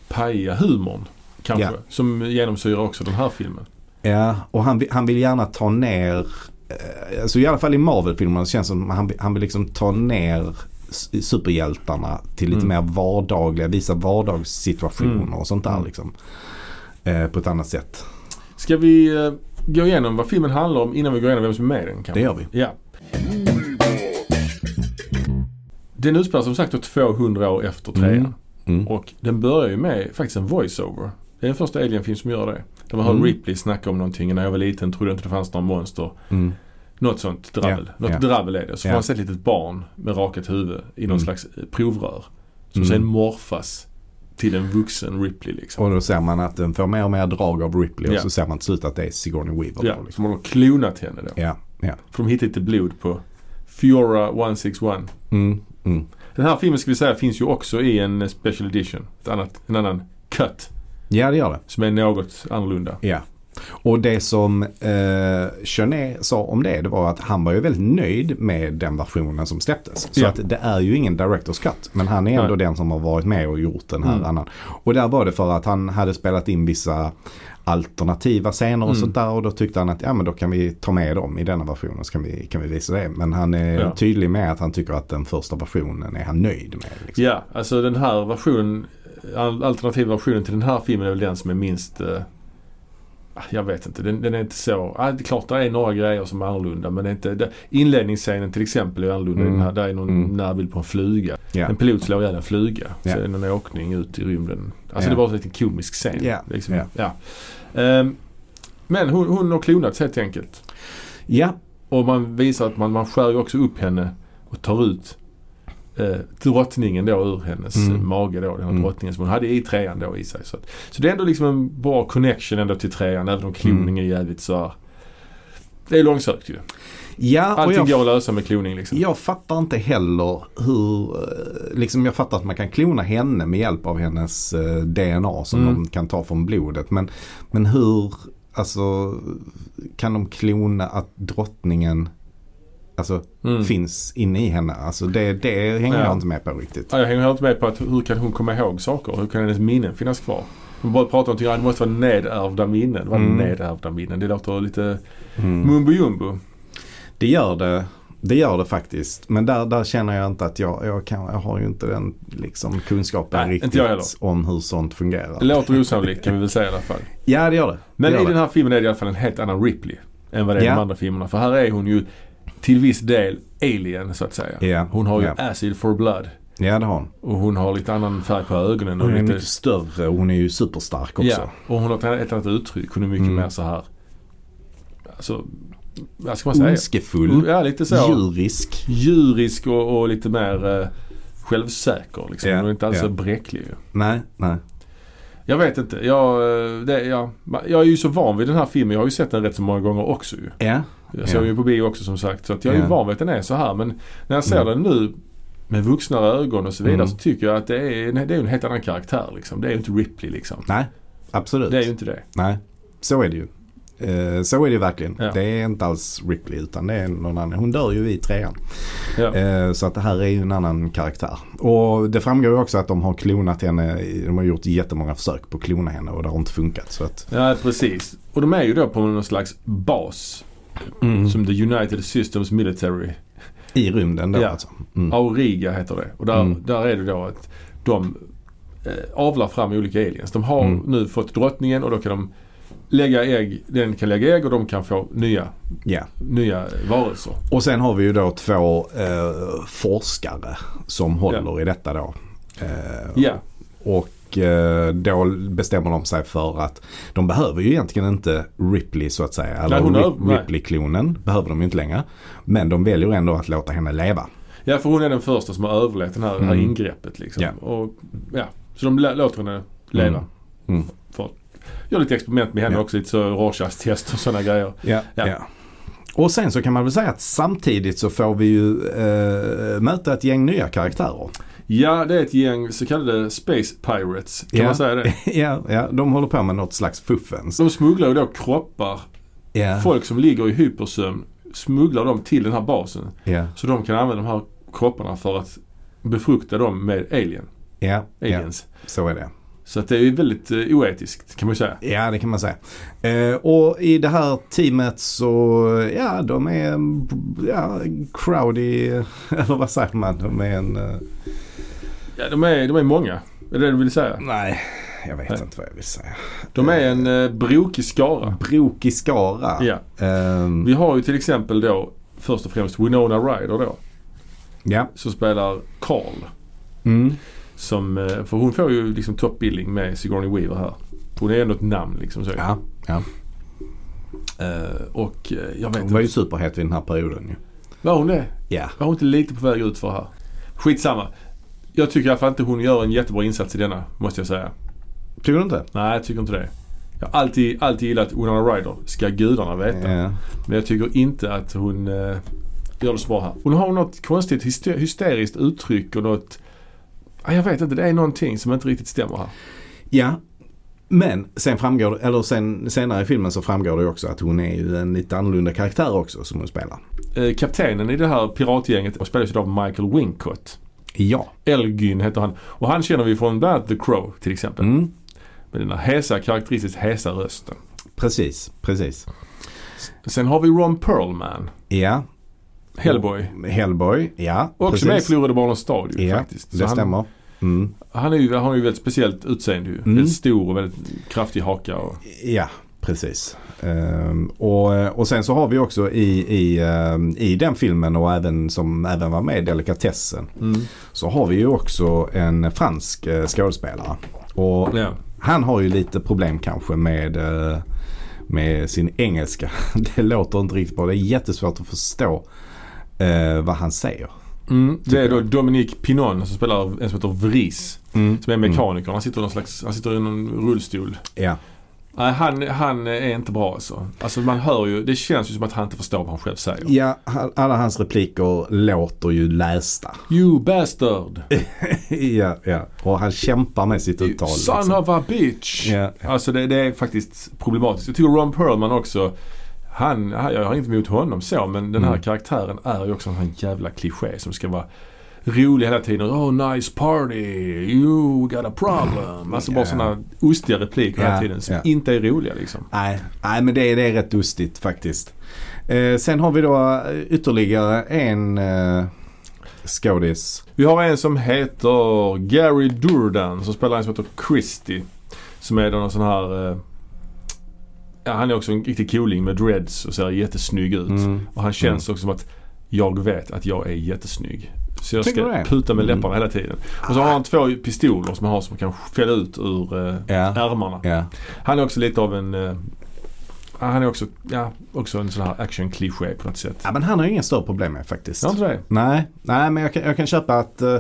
A: pajiga humorn. Kanske.
B: Ja.
A: Som genomsyrar också den här filmen.
B: Ja, och han, vill- han vill gärna ta ner, eh, alltså i alla fall i Marvel-filmerna så känns det som han, vill- han vill liksom ta ner s- superhjältarna till lite
A: Mm.
B: mer vardagliga, visa vardagssituationer
A: Mm.
B: och sånt där
A: Mm.
B: liksom. Eh, på ett annat sätt.
A: Ska vi eh, gå igenom vad filmen handlar om innan vi går igenom vem som är med i den?
B: Det
A: Kanske?
B: gör vi.
A: Ja. Den utspelar som sagt då 200 år efter trean.
B: Mm. Mm.
A: Och den börjar ju med faktiskt en voiceover. Det är den första Alien-film som gör det. Där man hör
B: Mm.
A: Ripley snacka om någonting. När jag var liten trodde jag inte det fanns några monster.
B: Mm.
A: Något sånt dravel.
B: Ja,
A: Något
B: ja.
A: dravel är det. Så får
B: Ja.
A: man se ett litet barn med rakat huvud i någon
B: Mm.
A: slags eh, provrör. Som
B: Mm.
A: sen morfas till en vuxen Ripley liksom.
B: Och då ser man att den får mer och mer drag av Ripley
A: Ja.
B: och så ser man till slut att det är Sigourney Weaver.
A: Ja,
B: då, liksom.
A: som har klonat henne då.
B: ja. ja.
A: För de hittade lite blod på Fiora 161.
B: Mm. Mm.
A: Den här filmen ska vi säga finns ju också i en special edition. Ett annat, en annan cut
B: ja, det gör det.
A: som är något annorlunda.
B: Ja. Och det som eh, Chenet sa om det, det var att han var ju väldigt nöjd med den versionen som släpptes. Så
A: Ja.
B: att det är ju ingen director's cut. Men han är ändå
A: Nej.
B: den som har varit med och gjort den här
A: Mm.
B: annan. Och där var det för att han hade spelat in vissa alternativa scener och
A: Mm.
B: sånt där. Och då tyckte han att ja men då kan vi ta med dem i denna versionen så kan vi, kan vi visa det. Men han är
A: Ja.
B: tydlig med att han tycker att den första versionen är han nöjd med. Liksom.
A: Ja, alltså den här versionen, al- alternativa versionen till den här filmen är väl den som är minst eh, ah, jag vet inte, den, den är inte så... Ah, det är klart det är några grejer som är annorlunda men det är inte... Det, inledningsscenen till exempel är annorlunda. i
B: Mm.
A: Den här, där är någon
B: Mm.
A: närbild på en fluga.
B: Ja.
A: En pilot slår ihjäl en fluga.
B: Ja.
A: Så är det någon åkning ut i rymden. Alltså
B: Ja.
A: det var en liten komisk scen.
B: Ja.
A: Liksom.
B: Ja.
A: Ja. Ehm, men hon, hon har klonats helt enkelt.
B: ja,
A: Och man visar att man, man skär ju också upp henne och tar ut eh, drottningen då ur hennes
B: Mm.
A: eh, mage då. Den här
B: Mm.
A: drottningen som hon hade i trean då i sig. Så, att, så det är ändå liksom en bra connection ändå till trean även
B: Mm.
A: om kloning är jävligt så här- Det är långsökt ju.
B: ja och
A: Allting
B: jag
A: går att lösa med kloning liksom.
B: Jag fattar inte heller hur, eh, liksom jag fattar att man kan klona henne med hjälp av hennes eh, DNA som
A: Mm.
B: de kan ta från blodet. Men, men hur, alltså kan de klona att drottningen alltså,
A: Mm.
B: finns inne i henne? Alltså det, det hänger
A: Ja.
B: jag inte med på riktigt.
A: Ja, jag hänger helt med på att hur kan hon komma ihåg saker? Hur kan hennes minnen finnas kvar? Hon bara pratar om att det måste vara nedärvda minnen. Vad är
B: Mm.
A: nedärvda minnen? Det låter lite
B: Mm.
A: mumbo jumbo.
B: Det gör det. Det gör det faktiskt. Men där, där känner jag inte att jag, jag, kan, jag har ju inte den liksom, kunskapen
A: Nej, inte
B: riktigt
A: jag heller.
B: om hur sånt fungerar.
A: Det låter osannolikt kan vi väl säga i alla fall.
B: Ja det gör det.
A: Men
B: det gör
A: i
B: det.
A: den här filmen är det i alla fall en helt annan Ripley än vad det är i
B: Ja.
A: de andra filmerna. För här är hon ju till viss del alien så att säga.
B: Ja.
A: Hon har ju
B: Ja.
A: acid for blood.
B: Ja det har hon.
A: Och hon har lite annan färg på ögonen. Och
B: Hon är
A: lite,
B: mycket större och hon är ju superstark också.
A: ja, och hon har ett annat- ett annat uttryck. Hon är mycket
B: Mm.
A: mer så här. Alltså, vad Mm, ska man säga?
B: Ondskefull,
A: Ja, lite så.
B: djurisk.
A: Djurisk och, och lite mer eh, självsäker. Liksom.
B: Ja,
A: Hon är inte alls
B: ja.
A: så bräcklig ju.
B: Nej, nej.
A: Jag vet inte. Jag, eh, det, jag, jag är ju så van vid den här filmen. Jag har ju sett den rätt så många gånger också ju.
B: Ja,
A: Jag såg
B: Ja.
A: ju på bio också som sagt. Så att jag är
B: Ja.
A: ju van vid att den är så här. Men när jag ser
B: Mm.
A: den nu med vuxna ögon och så vidare
B: Mm.
A: så tycker jag att det är, nej, det är ju en helt annan karaktär liksom. Det är ju inte Ripley liksom.
B: nej. Absolut.
A: Det är ju inte det.
B: Nej, så är det ju. Eh, så är det ju verkligen.
A: Ja.
B: Det är inte alls Ripley utan det är någon annan. Hon dör ju i trean.
A: Ja.
B: Eh, så att det här är ju en annan karaktär. Och det framgår ju också att de har klonat henne. De har gjort jättemånga försök på att klona henne och det har inte funkat. Så att,
A: ja, precis. Och de är ju då på någon slags bas
B: Mm.
A: som The United Systems Military.
B: I rymden då
A: Ja.
B: alltså. Mm.
A: Auriga heter det. Och där,
B: Mm.
A: där är det då att de eh, avlar fram olika aliens. De har
B: Mm.
A: nu fått drottningen och då kan de lägga ägg. Den kan lägga ägg och de kan få nya,
B: Ja.
A: nya varelser.
B: Och sen har vi ju då två eh, forskare som håller i detta då. Eh,
A: Ja.
B: Och eh, då bestämmer de sig för att de behöver ju egentligen inte Ripley så att säga. Eller
A: Nej, hon har-
B: Rip-
A: nej.
B: Ripley-klonen behöver de ju inte längre. Men de väljer ändå att låta henne leva.
A: Ja, för hon är den första som har överlevt den här, det här
B: Mm.
A: ingreppet. Liksom.
B: Ja.
A: Och, ja. Så de lä- låter henne leva.
B: Mm. Mm.
A: För, gör lite experiment med henne
B: Ja.
A: också. Lite så Rorschach-test och sådana grejer.
B: Ja,
A: Ja.
B: ja. Och sen så kan man väl säga att samtidigt så får vi ju eh, möta ett gäng nya karaktärer.
A: Ja, det är ett gäng så kallade Space Pirates. Kan
B: Ja.
A: man säga det?
B: ja, ja, de håller på med något slags fuffens.
A: De smugglar ju då kroppar.
B: Ja,
A: Folk som ligger i hypersömn smugglar dem till den här basen.
B: ja,
A: Så de kan använda de här kropparna för att befrukta dem med alien,
B: ja, ja,
A: aliens.
B: så är det.
A: Så att det är ju väldigt eh, oetiskt kan man ju säga.
B: Ja, det kan man säga. Eh, och i det här teamet så, ja, de är en ja, crowdy, eller vad säger man? De är en... Eh,
A: Ja, de är, de är många. Är det det du vill säga?
B: nej, jag vet
A: Nej.
B: inte vad jag vill säga.
A: De är en eh, brokig skara.
B: Brokig skara.
A: Ja.
B: Ehm,
A: Vi har ju till exempel då först och främst Winona Ryder då.
B: Ja.
A: så spelar Carl.
B: Mm.
A: Som, eh, för hon får ju liksom toppbilling med Sigourney Weaver här. Hon är ändå ett namn liksom. Så.
B: Ja. ja.
A: Eh, och eh, jag vet
B: Hon var ju
A: inte.
B: superhet vid den här perioden ju.
A: Var hon det?
B: Ja.
A: Var hon inte lite på väg ut för här? Skitsamma. Jag tycker i alla fall inte hon gör en jättebra insats i denna, måste jag säga.
B: Tycker du inte?
A: Nej, jag tycker inte det. Jag har alltid, alltid gillat Winona Ryder, ska gudarna veta.
B: Ja.
A: Men jag tycker inte att hon eh, gör det så bra här. Hon har något konstigt hyster- hysteriskt uttryck och något... Ja, jag vet inte, det är någonting som inte riktigt stämmer här.
B: Ja. Men sen framgår eller sen, senare i filmen så framgår det ju också att hon är ju en lite annorlunda karaktär också som hon spelar.
A: Eh, kaptenen i det här piratgänget spelas ju av Michael Wincott.
B: Ja.
A: Elgyn heter han. Och han känner vi från bland annat The Crow till exempel.
B: Mm.
A: Med den här hesa, karaktäristiskt hesa rösten.
B: Precis, precis.
A: Sen har vi Ron Perlman,
B: Ja.
A: Hellboy.
B: Hellboy, ja.
A: Och som är
B: Oh, precis.
A: förlorade barnens stad ju
B: Ja,
A: faktiskt. Så
B: Det
A: han,
B: stämmer. Mm.
A: han, är ju, han har ju väldigt speciellt utseende ju.
B: Mm.
A: Väldigt stor och väldigt kraftig haka. Och,
B: Ja, precis. Ehm, och, och sen så har vi också i, i, ehm, i den filmen och även som även var med i Delikatessen så har vi ju också en fransk eh, skådespelare. Och
A: ja.
B: han har ju lite problem kanske med, eh, med sin engelska. Det låter inte riktigt bra. Det är jättesvårt att förstå eh, vad han säger.
A: Mm, det är då Dominique Pinon som spelar en som heter Vris. Som är
B: Mm.
A: mekaniker. Han sitter i någon slags, han sitter i någon rullstol.
B: Ja.
A: Nej, han, han är inte bra alltså. Alltså man hör ju, det känns ju som att han inte förstår vad han själv säger.
B: ja, all- alla hans repliker låter ju lästa.
A: You bastard!
B: ja, ja. Och han kämpar med sitt
A: You
B: uttal.
A: son
B: liksom.
A: of a bitch!
B: Ja.
A: Alltså det, det är faktiskt problematiskt. Jag tycker Ron Perlman också, han, han- jag har inget emot honom så men den här
B: Mm.
A: karaktären är ju också en sån här jävla kliché som ska vara rolig hela tiden. Oh nice party, you got a problem. Alltså bara
B: Ja.
A: sådana ostiga repliker
B: Ja,
A: hela tiden som
B: ja.
A: inte är roliga liksom.
B: Nej, nej men det, det är rätt lustigt faktiskt. Eh, sen har vi då ytterligare en eh, skådis.
A: Vi har en som heter Gary Durdan som spelar en som heter Christie. Som är då någon sån här... eh, Ja, han är också en riktig cooling med dreads och ser jättesnygg ut. Och han känns också som att jag vet att jag är jättesnygg. Så jag
B: Tycker du
A: ska
B: det?
A: puta med
B: Mm.
A: läpparna hela tiden. Och så har han två pistoler som han har som kan fälla ut ur eh,
B: Ja.
A: ärmarna.
B: Ja.
A: Han är också lite av en... Eh, han är också, ja, också en sån här action-kliché på något sätt.
B: ja, men han har inga större problem med faktiskt.
A: Jag inte det?
B: Nej, nej men jag kan, jag kan köpa att, eh,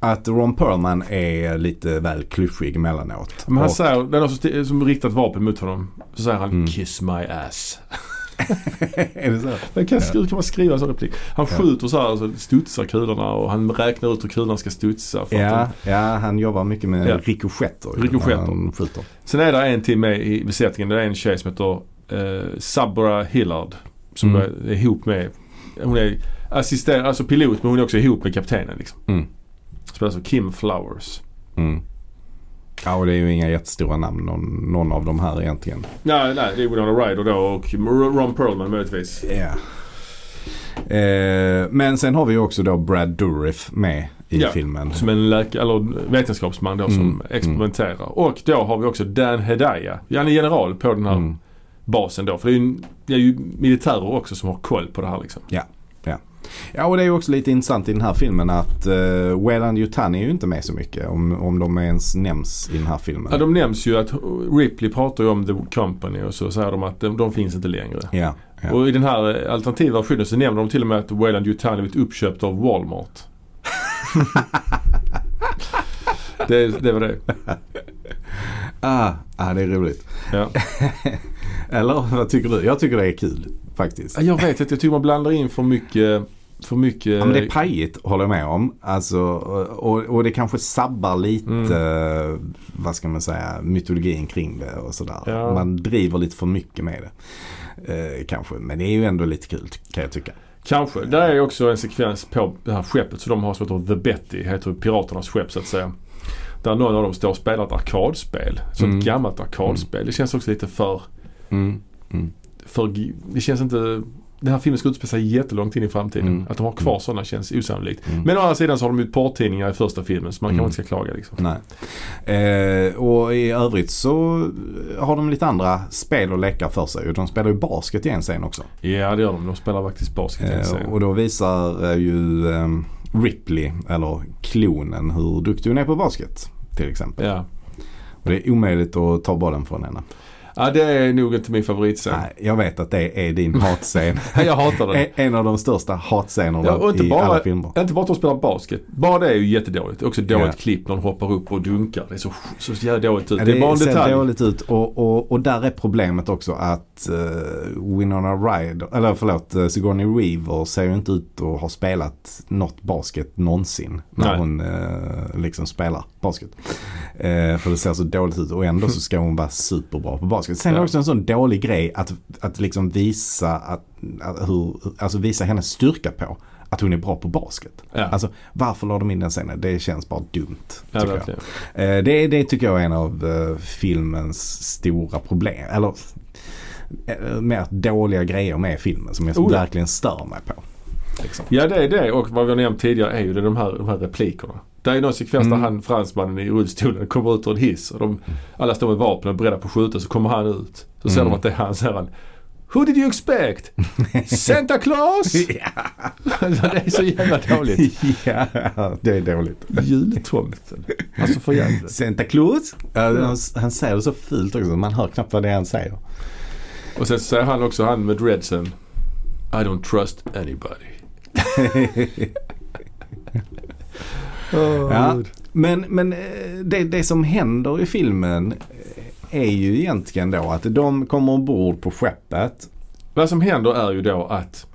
B: att Ron Perlman är lite väl klyschig emellanåt.
A: Men han
B: Och-
A: säger, det är någon som, sti- som riktat vapen mot honom. Så säger han
B: Mm.
A: 'Kiss my ass'
B: är det så?
A: Men kan, Hur kan man skriva en sån replik? Han
B: Ja.
A: skjuter så här och så studsar kulorna och han räknar ut hur kulan ska studsa. För
B: Ja,
A: att
B: ja, han jobbar mycket med
A: Ja.
B: rikoschetter. ju,
A: Rikoschetter.
B: när han skjuter.
A: de- Sen är det en till med i besättningen. Det är en tjej som heter eh, Sabra Hillard. Som
B: Mm.
A: är- är ihop med, hon är assister, alltså pilot men hon är också ihop med kaptenen. Liksom.
B: Mm.
A: Spelas av Kim Flowers.
B: Mm. Ja, och det är ju inga jättestora namn någon, någon av de här egentligen.
A: Nej, nej, det är Winona Ryder då och Ron Perlman möjligtvis.
B: Ja. Eh, men sen har vi ju också då Brad Dourif med i
A: Ja.
B: filmen.
A: Som en läkare, eller vetenskapsman då som
B: Mm,
A: experimenterar. Och då har vi också Dan Hedaya. Han är general på den här
B: Mm.
A: basen då. För det är, ju, det är ju militärer också som har koll på det här liksom.
B: Ja, och det är ju också lite intressant i den här filmen att eh, Wayland Yutani är ju inte med så mycket om, om de ens nämns i den här filmen.
A: Ja, de nämns ju att Ripley pratar ju om The Company och så säger de att de, de finns inte längre.
B: Ja, ja.
A: Och i den här eh, alternativa versionen så nämner de till och med att Wayland Yutani blivit uppköpt av Walmart. det, det var det.
B: Ah, ah, det är roligt.
A: Ja.
B: Eller vad tycker du? Jag tycker det är kul faktiskt.
A: Jag vet inte, jag tycker man blandar in för mycket, för mycket
B: Ja, men det är pajigt håller jag med om. Alltså, och, och det kanske sabbar lite,
A: Mm.
B: eh, vad ska man säga, mytologin kring det och sådär.
A: Ja.
B: Man driver lite för mycket med det. Eh, kanske, men det är ju ändå lite kul ty- kan jag tycka.
A: Kanske. Där är ju också en sekvens på det här skeppet som de har som heter The Betty. Heter ju piraternas skepp så att säga. Där någon av dem står och spelar ett arkadspel. Ett sånt
B: Mm.
A: gammalt arkadspel. Det känns också lite för, Mm. för... gi- Det känns inte... Den här filmen ska utspela sig jättelångt in i framtiden.
B: Mm.
A: Att de har kvar sådana känns osannolikt.
B: Mm.
A: Men å andra sidan så har de ju porrtidningar i första filmen så man
B: Mm.
A: kanske inte ska klaga liksom.
B: Nej. Eh, och i övrigt så har de lite andra spel och lekar för sig. De spelar ju basket i en scen också.
A: Ja det gör de. De spelar faktiskt basket i en
B: Eh,
A: scen.
B: och då visar eh, ju eh, Ripley, eller klonen, hur duktig hon är på basket. Till exempel.
A: Ja.
B: Och det är omöjligt att ta bollen från henne.
A: ja, det är nog inte min favoritscen.
B: Nej, Eh, jag vet att det är din hatscen.
A: Jag hatar den.
B: En- en av de största hatscenerna
A: Ja, och inte
B: i
A: bara-
B: alla filmer.
A: Inte bara att de spelar basket. Bara det är ju jättedåligt. Också dåligt
B: Ja.
A: klipp när de hoppar upp och dunkar. Det är så, så jävla dåligt ut.
B: Ja,
A: Det är bara en
B: ser
A: detalj.
B: dåligt ut och, och, och där är problemet också att eh, Winona Ryder, eller förlåt eh, Sigourney Weaver ser ju inte ut att ha spelat något basket någonsin. När
A: Nej.
B: hon eh, liksom spelar basket. Eh, för det ser så dåligt ut och ändå så ska hon vara superbra på basket. Sen är
A: Ja.
B: det också en sån dålig grej att, att liksom visa, att, att hur, alltså visa hennes styrka på. Att hon är bra på basket.
A: Ja.
B: Alltså varför la de in den scenen? Det känns bara dumt.
A: Ja,
B: tycker jag.
A: verkligen.
B: Eh, Det, det tycker jag är en av eh, filmens stora problem. Eller eh, mer dåliga grejer med filmen som jag
A: Oh ja.
B: verkligen stör mig på. Liksom.
A: Ja det är det och vad vi har nämnt tidigare är ju det, de, här, de här replikerna. Det är någon sekvens där
B: Mm.
A: han, fransmannen i rullstolen kommer ut ur en hiss och de, alla står med vapen och är beredda på att skjuta så kommer han ut. Så ser
B: Mm.
A: de att det är han så säger han Who did you expect? Santa Claus? Alltså, det är så jävla dåligt.
B: ja, det är dåligt.
A: Jultomten. Alltså för jävligt.
B: Santa Claus? Ja, Han, han säger det så fult också. Man hör knappt vad det är han säger.
A: Och sen så säger han också, han med dreadsen. I don't trust anybody.
B: Ja, men men eh, det, det som händer i filmen eh, är ju egentligen då att de kommer ombord på skeppet.
A: Vad som händer är ju då att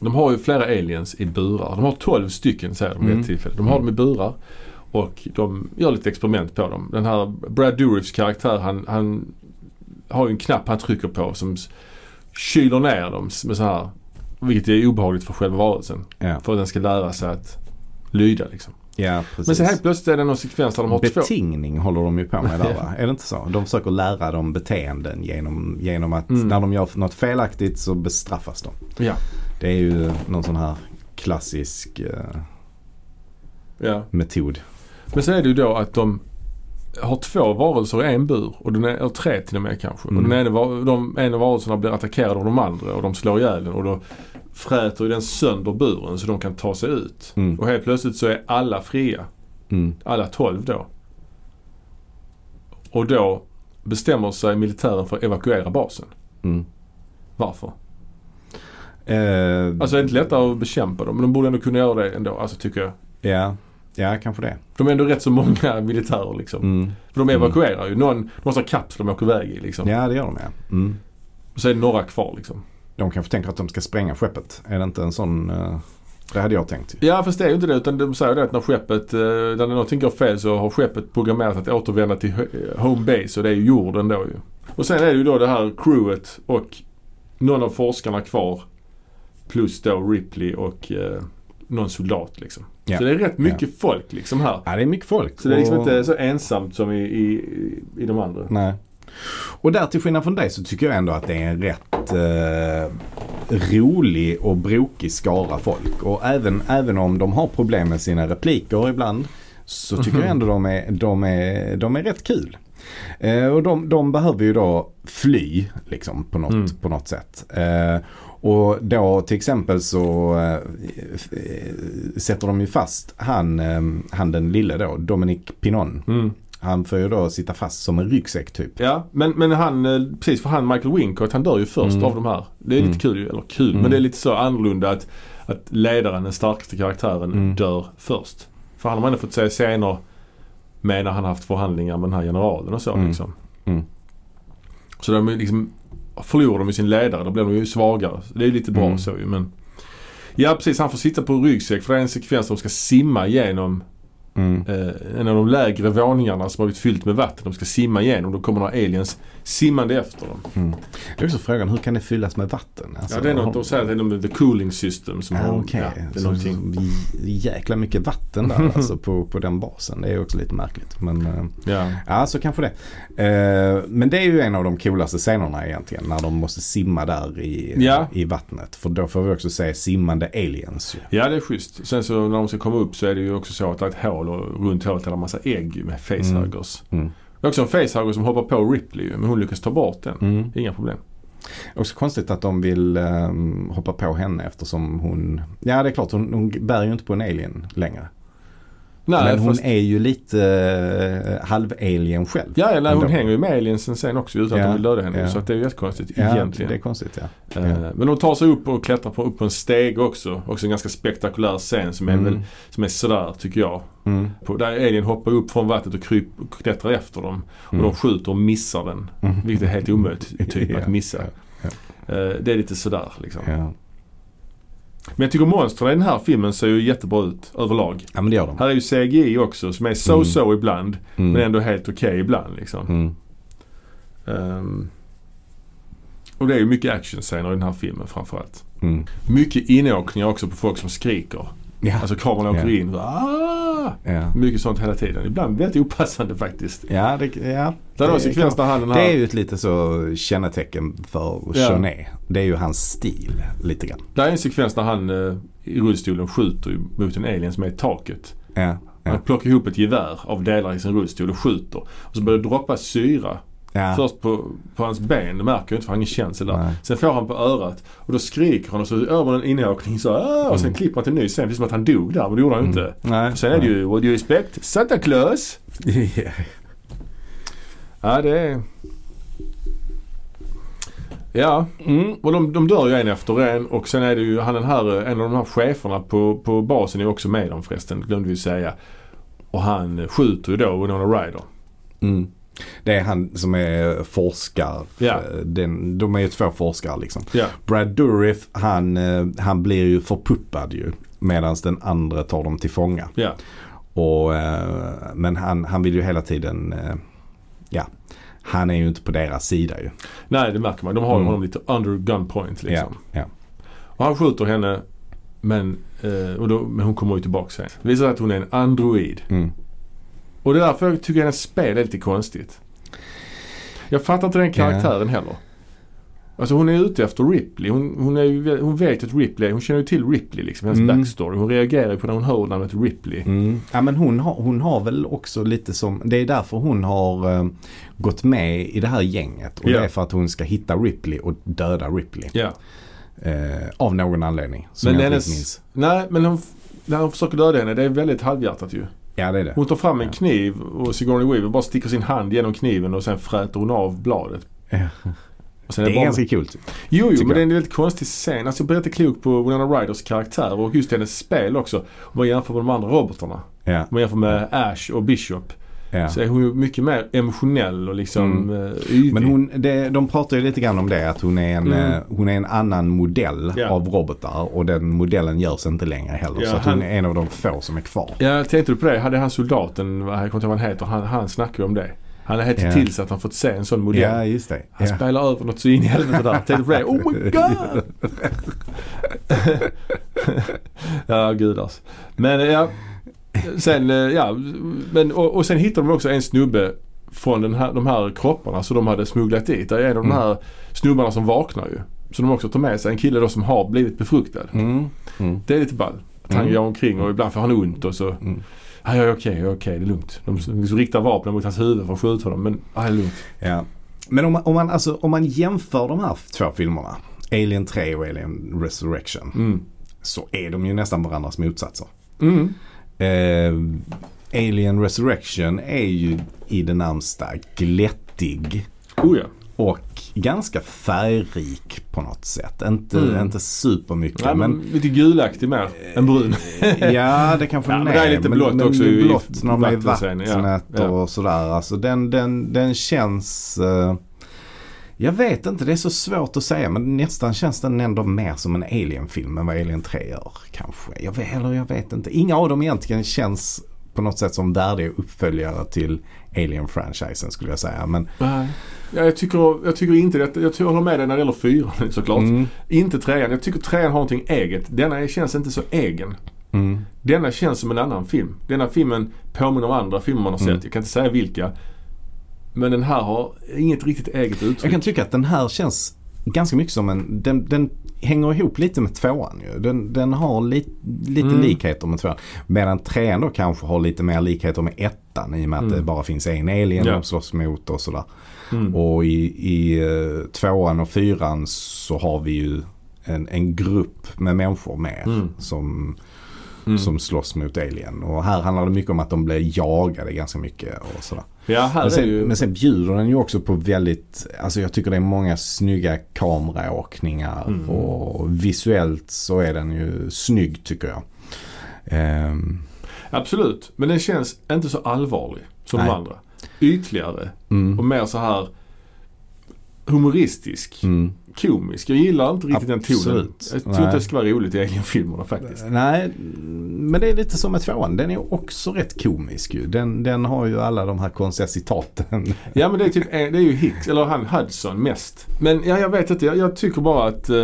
A: de har ju flera aliens i burar. De har 12 stycken säger de vid
B: Mm.
A: ett tillfälle. De har dem i burar och de gör lite experiment på dem. Den här Brad Dourifs karaktär han, han har ju en knapp han trycker på som s- kyler ner dem s- med så här. Vilket är obehagligt för själva varelsen.
B: Ja,
A: För att den ska lära sig att lyda liksom.
B: ja precis.
A: Men sen helt plötsligt är det någon sekvens där de har två.
B: Betingning håller de ju på med där
A: Ja.
B: va? Är det inte så? De försöker lära dem beteenden genom, genom att
A: Mm.
B: när de gör något felaktigt så bestraffas de.
A: Ja.
B: Det är ju någon sån här klassisk eh,
A: ja.
B: metod.
A: Men så är det ju då att de har två varelser i en bur. Och den är, eller tre till och med kanske.
B: Mm.
A: Och den ena, var- de, en av varelserna blir attackerad av de andra och de slår ihjäl den. Och då fräter ju den sönder buren så de kan ta sig ut.
B: Mm.
A: Och helt plötsligt så är alla fria.
B: Mm.
A: Alla tolv då. Och då bestämmer sig militären för att evakuera basen.
B: Mm.
A: Varför?
B: Eh,
A: Alltså det är inte lättare att bekämpa dem men de borde ändå kunna göra det ändå, alltså tycker jag.
B: ja. ja, kanske det.
A: De är ändå rätt så många militärer liksom.
B: Mm.
A: För de evakuerar ju. Någon, de måste ha kapsel de åker iväg i liksom.
B: Ja, det gör de ja. Mm.
A: Och så är det några kvar liksom.
B: De kanske tänker att de ska spränga skeppet. Är det inte en sån... eh, det hade jag tänkt. ju.
A: Ja fast det är ju inte det utan de säger ju det att när skeppet, eh, när någonting går fel så har skeppet programmerat att återvända till hö- eh, home base och det är ju jorden då ju. Och sen är det ju då det här crewet och någon av forskarna kvar. Plus då Ripley och eh, någon soldat liksom.
B: Ja.
A: Så det är rätt mycket folk liksom här.
B: Ja, det är mycket folk.
A: Så det är liksom
B: Och-
A: inte så ensamt som i, i, i de andra.
B: Nej. Och där till skillnad från dig så tycker jag ändå att det är en rätt eh, rolig och brokig skara folk. Och även, även om de har problem med sina repliker ibland så tycker jag ändå de är, de är, de är rätt kul. Eh, och de, de behöver ju då fly liksom på något,
A: Mm.
B: på något sätt. Eh, och då till exempel så eh, f- eh, sätter de ju fast han, eh, han den lille då, Dominic Pinon.
A: Mm.
B: Han får ju då sitta fast som en ryggsäck typ.
A: Ja, men, men han, eh, precis för han Michael Wincott, han dör ju först
B: Mm.
A: av de här. Det är
B: Mm.
A: lite kul, ju, eller kul, men det är lite så annorlunda att, att ledaren, den starkaste karaktären,
B: Mm.
A: dör först. För han har man ändå fått se scener med när han haft förhandlingar med den här generalen och så
B: Mm.
A: liksom.
B: Mm.
A: Så de är liksom, förlorar de ju sin ledare, då blir de ju svagare. Så Det är lite bra
B: Mm.
A: så ju, men. Ja precis, han får sitta på ryggsäck för det är en sekvens där de ska simma igenom
B: Mm.
A: eh, en av de lägre våningarna som har blivit fyllt med vatten. De ska simma igenom. Då kommer några aliens simmande efter dem.
B: Det mm. är också frågan, hur kan det fyllas med vatten? Alltså,
A: ja, det är något
B: har-
A: de säger att det är något med the cooling system som
B: Ja,
A: har...
B: Ah, okej.
A: Ja, det är
B: så,
A: någonting.
B: så jäkla mycket vatten där alltså, på, på den basen. Det är ju också lite märkligt. Men eh,
A: Ja.
B: ja, så kanske det. Eh, Men det är ju en av de coolaste scenerna egentligen. När de måste simma där i,
A: Ja.
B: i vattnet. För då får vi också se simmande aliens ju.
A: ja, det är schysst. Sen så när de ska komma upp så är det ju också så att det är ett hål och runt hålet är det en massa ägg med facehuggers.
B: Mm.
A: Det är också en facehugger som hoppar på Ripley ju, men hon lyckas ta bort den.
B: Mm.
A: Inga problem.
B: Också konstigt att de vill eh, hoppa på henne eftersom hon, ja det är klart hon, hon bär ju inte på en alien längre.
A: Nej,
B: Men hon
A: fast,
B: är ju lite eh, halv-alien själv.
A: ja, ja, nej, hon
B: ändå.
A: hänger ju med aliensen sen också utan
B: Ja,
A: att de vill döda henne.
B: ja.
A: Så att det är ju jättekonstigt
B: Ja,
A: egentligen.
B: det är konstigt ja.
A: Eh, Men de tar sig upp och klättrar på, upp på en steg också. Också en ganska spektakulär scen som är,
B: Mm.
A: väl, som är sådär tycker jag.
B: Mm.
A: På, där alien hoppar upp från vattnet och, kryp, och klättrar efter dem. Och
B: Mm.
A: de skjuter och missar den.
B: Mm.
A: Vilket är helt omöjligt typ
B: Ja,
A: att missa.
B: ja,
A: Eh, Det är lite sådär liksom.
B: Ja.
A: Men jag tycker monstren i den här filmen ser ju jättebra ut överlag.
B: ja men det gör de.
A: Här är ju CGI också som är so-so ibland.
B: Mm.
A: Men ändå helt okej ibland liksom.
B: Mm.
A: Ehm, och det är ju mycket actionscener i den här filmen framförallt.
B: Mm.
A: Mycket inåkningar också på folk som skriker.
B: Ja.
A: Alltså kameran åker
B: Ja.
A: in. och "Ah!"
B: ja.
A: Mycket sånt hela tiden. Ibland väldigt opassande faktiskt.
B: Ja, det, ja.
A: Där var en
B: Det är
A: sekvens
B: klart.
A: där han den här...
B: Det är ju ett lite så kännetecken för
A: Ja.
B: Chonet. Det är ju hans stil lite grann.
A: Där är en sekvens där han eh, i rullstolen skjuter ju mot en alien som är i taket.
B: Ja,
A: Han
B: ja,
A: plockar ihop ett gevär av delar i sin rullstol och skjuter. Och så börjar det droppa syra.
B: ja.
A: Först på, på hans ben, det märker jag inte för han har ingen känsel där.
B: Nej.
A: Sen får han på örat och då skriker han och så över en inåkning så "Ah!" och sen
B: Mm.
A: klipper han till en ny scen. Det är som att han dog där men det gjorde han ju inte.
B: Nej.
A: Sen är det ju What do you expect? Santa Claus!
B: Ja.
A: Ja, det är... Ja, mm. och de, de dör ju en efter en och sen är det ju han den här, eh, en av de här cheferna på, på basen är också med dem förresten, glömde vi säga. Och han eh, skjuter ju då Winona Ryder.
B: Mm. Det är han som är forskare.
A: Ja.
B: Den, de är ju två forskare liksom.
A: Ja,
B: Brad Dourif han, eh, han blir ju förpuppad ju. Medan den andra tar dem till fånga.
A: ja.
B: Och, eh, men han, han vill ju hela tiden, eh, ja. Han är ju inte på deras sida ju.
A: Nej, det märker man. De har ju
B: Mm.
A: honom lite under gunpoint liksom.
B: Ja, ja.
A: Och han skjuter henne men, eh, och då, men hon kommer ju tillbaka sen. Det visar sig att hon är en android.
B: Mm.
A: Och det är därför jag tycker hennes spel är lite konstigt. Jag fattar inte den karaktären heller. Alltså hon är ute efter Ripley. Hon, hon, är ju, hon vet att Ripley, hon känner ju till Ripley liksom, hennes
B: Mm.
A: backstory. Hon reagerar ju på när hon hör namnet Ripley.
B: Mm. Ja men hon har, hon har väl också lite som, det är därför hon har eh, gått med i det här gänget. Och
A: Ja.
B: det är för att hon ska hitta Ripley och döda Ripley.
A: Ja. Eh,
B: Eh, av någon anledning. Som
A: Men
B: jag
A: hennes-
B: inte minns.
A: Nej, men hon, när hon försöker döda henne, det är väldigt halvhjärtat ju.
B: Ja det är det.
A: Hon tar fram en
B: Ja.
A: kniv och Sigourney Weaver bara sticker sin hand genom kniven och sen fräter hon av bladet.
B: Ja.
A: Och sen
B: Det är
A: bara-
B: ganska kul. typ.
A: Jo, jo
B: tycker
A: men det är
B: jag.
A: en väldigt konstig scen. Alltså jag blir inte klok på Winona Ryders karaktär och just hennes spel också. Om man jämför med de andra robotarna.
B: Ja,
A: Om man jämför med Ash och Bishop.
B: ja.
A: Så är hon ju mycket mer emotionell och liksom mm. yvig.
B: Men hon, det, de pratar ju lite grann om det att hon är en,
A: Mm.
B: eh, hon är en annan modell
A: Ja.
B: av robotar och den modellen görs inte längre heller.
A: Ja,
B: så att
A: han-
B: hon är en av de få som är kvar.
A: Ja, tänkte du på det? Hade han soldaten, vad- jag kommer inte ihåg vad han heter, han, han snackade ju om det. Han hade
B: Ja.
A: yeah. till sig att han fått se en sån modell.
B: Ja, just det.
A: Han
B: Ja.
A: spelar över något så in i helvete där. Tänkte du på det? Oh my god! ja, gudars. Men ja. Sen, eh, ja. Men, och, och sen hittade de också en snubbe från den här, de här kropparna som de hade smugglat dit. Det är en av de
B: Mm.
A: här snubbarna som vaknar ju. Så de också tar med sig en kille då som har blivit befruktad.
B: Mm. Mm.
A: Det är lite ball. Att han
B: Mm.
A: går omkring och ibland får han ont och så.
B: Mm.
A: Ja, jag är okej, jag är okej, det är lugnt. De liksom riktar vapnen mot hans huvud för att skjuta honom men, ja, det är lugnt.
B: Ja. Men om man, om, man, alltså, om man jämför de här två filmerna, Alien 3 och Alien Resurrection,
A: Mm.
B: så är de ju nästan varandras motsatser.
A: Mm.
B: Eh, Alien Resurrection är ju i det närmsta glättig
A: Oh ja.
B: och ganska färgrik på något sätt. Inte,
A: Mm.
B: inte supermycket
A: Nej, men Eh,
B: men
A: lite gulaktig mer än brun.
B: ja det kanske
A: Ja,
B: den
A: men det är lite blått också
B: det är
A: i
B: blått när de är i
A: vattenscenen, ja.
B: vattnet
A: Ja.
B: och sådär. Alltså den, den, den känns eh, jag vet inte, det är så svårt att säga men nästan känns den ändå mer som en Alien-film än vad Alien 3 gör kanske. Jag vet, eller jag vet inte. Inga av dem egentligen känns på något sätt som värdiga uppföljare till Alien-franchisen skulle jag säga. Men,
A: Nej. Ja, jag, tycker, jag tycker inte det. Jag tycker- håller med dig när det gäller fyran såklart.
B: Mm.
A: Inte trean. Jag tycker trean har någonting eget. Denna känns inte så egen.
B: mm,
A: Denna känns som en annan film. Denna filmen påminner om andra filmer man har sett. Jag kan inte säga vilka. Men den här har inget riktigt eget uttryck.
B: Jag kan tycka att den här känns ganska mycket som en, den, den hänger ihop lite med tvåan ju. Den, den har li, lite
A: Mm.
B: likheter med tvåan. Medan trean då kanske har lite mer likheter med ettan i och med att
A: Mm.
B: det bara finns en alien
A: Ja.
B: de slåss mot och sådär.
A: Mm.
B: Och i, i eh, tvåan och fyran så har vi ju en, en grupp med människor med
A: Mm.
B: som,
A: Mm.
B: som slåss mot alien. Och här handlar det mycket om att de blir jagade ganska mycket och sådär.
A: Ja, här
B: Men
A: är
B: sen,
A: ju...
B: men sen bjuder den ju också på väldigt, alltså jag tycker det är många snygga kameraåkningar
A: Mm.
B: och visuellt så är den ju snygg tycker jag. Ehm,
A: Absolut, men den känns inte så allvarlig som de
B: Nej.
A: andra. Ytligare
B: mm,
A: och mer så här humoristisk,
B: mm.
A: komisk. Jag gillar inte riktigt den tonen.
B: Absolut.
A: Jag tror inte
B: Nej.
A: det ska vara roligt i Alien-filmerna faktiskt.
B: Nej, men det är lite som med tvåan. Den är också rätt komisk ju. Den, den har ju alla de här konstiga citaten.
A: Ja men det är, typ, det är ju Hicks, eller han Hudson mest. Men ja, jag vet inte, jag, jag tycker bara att eh,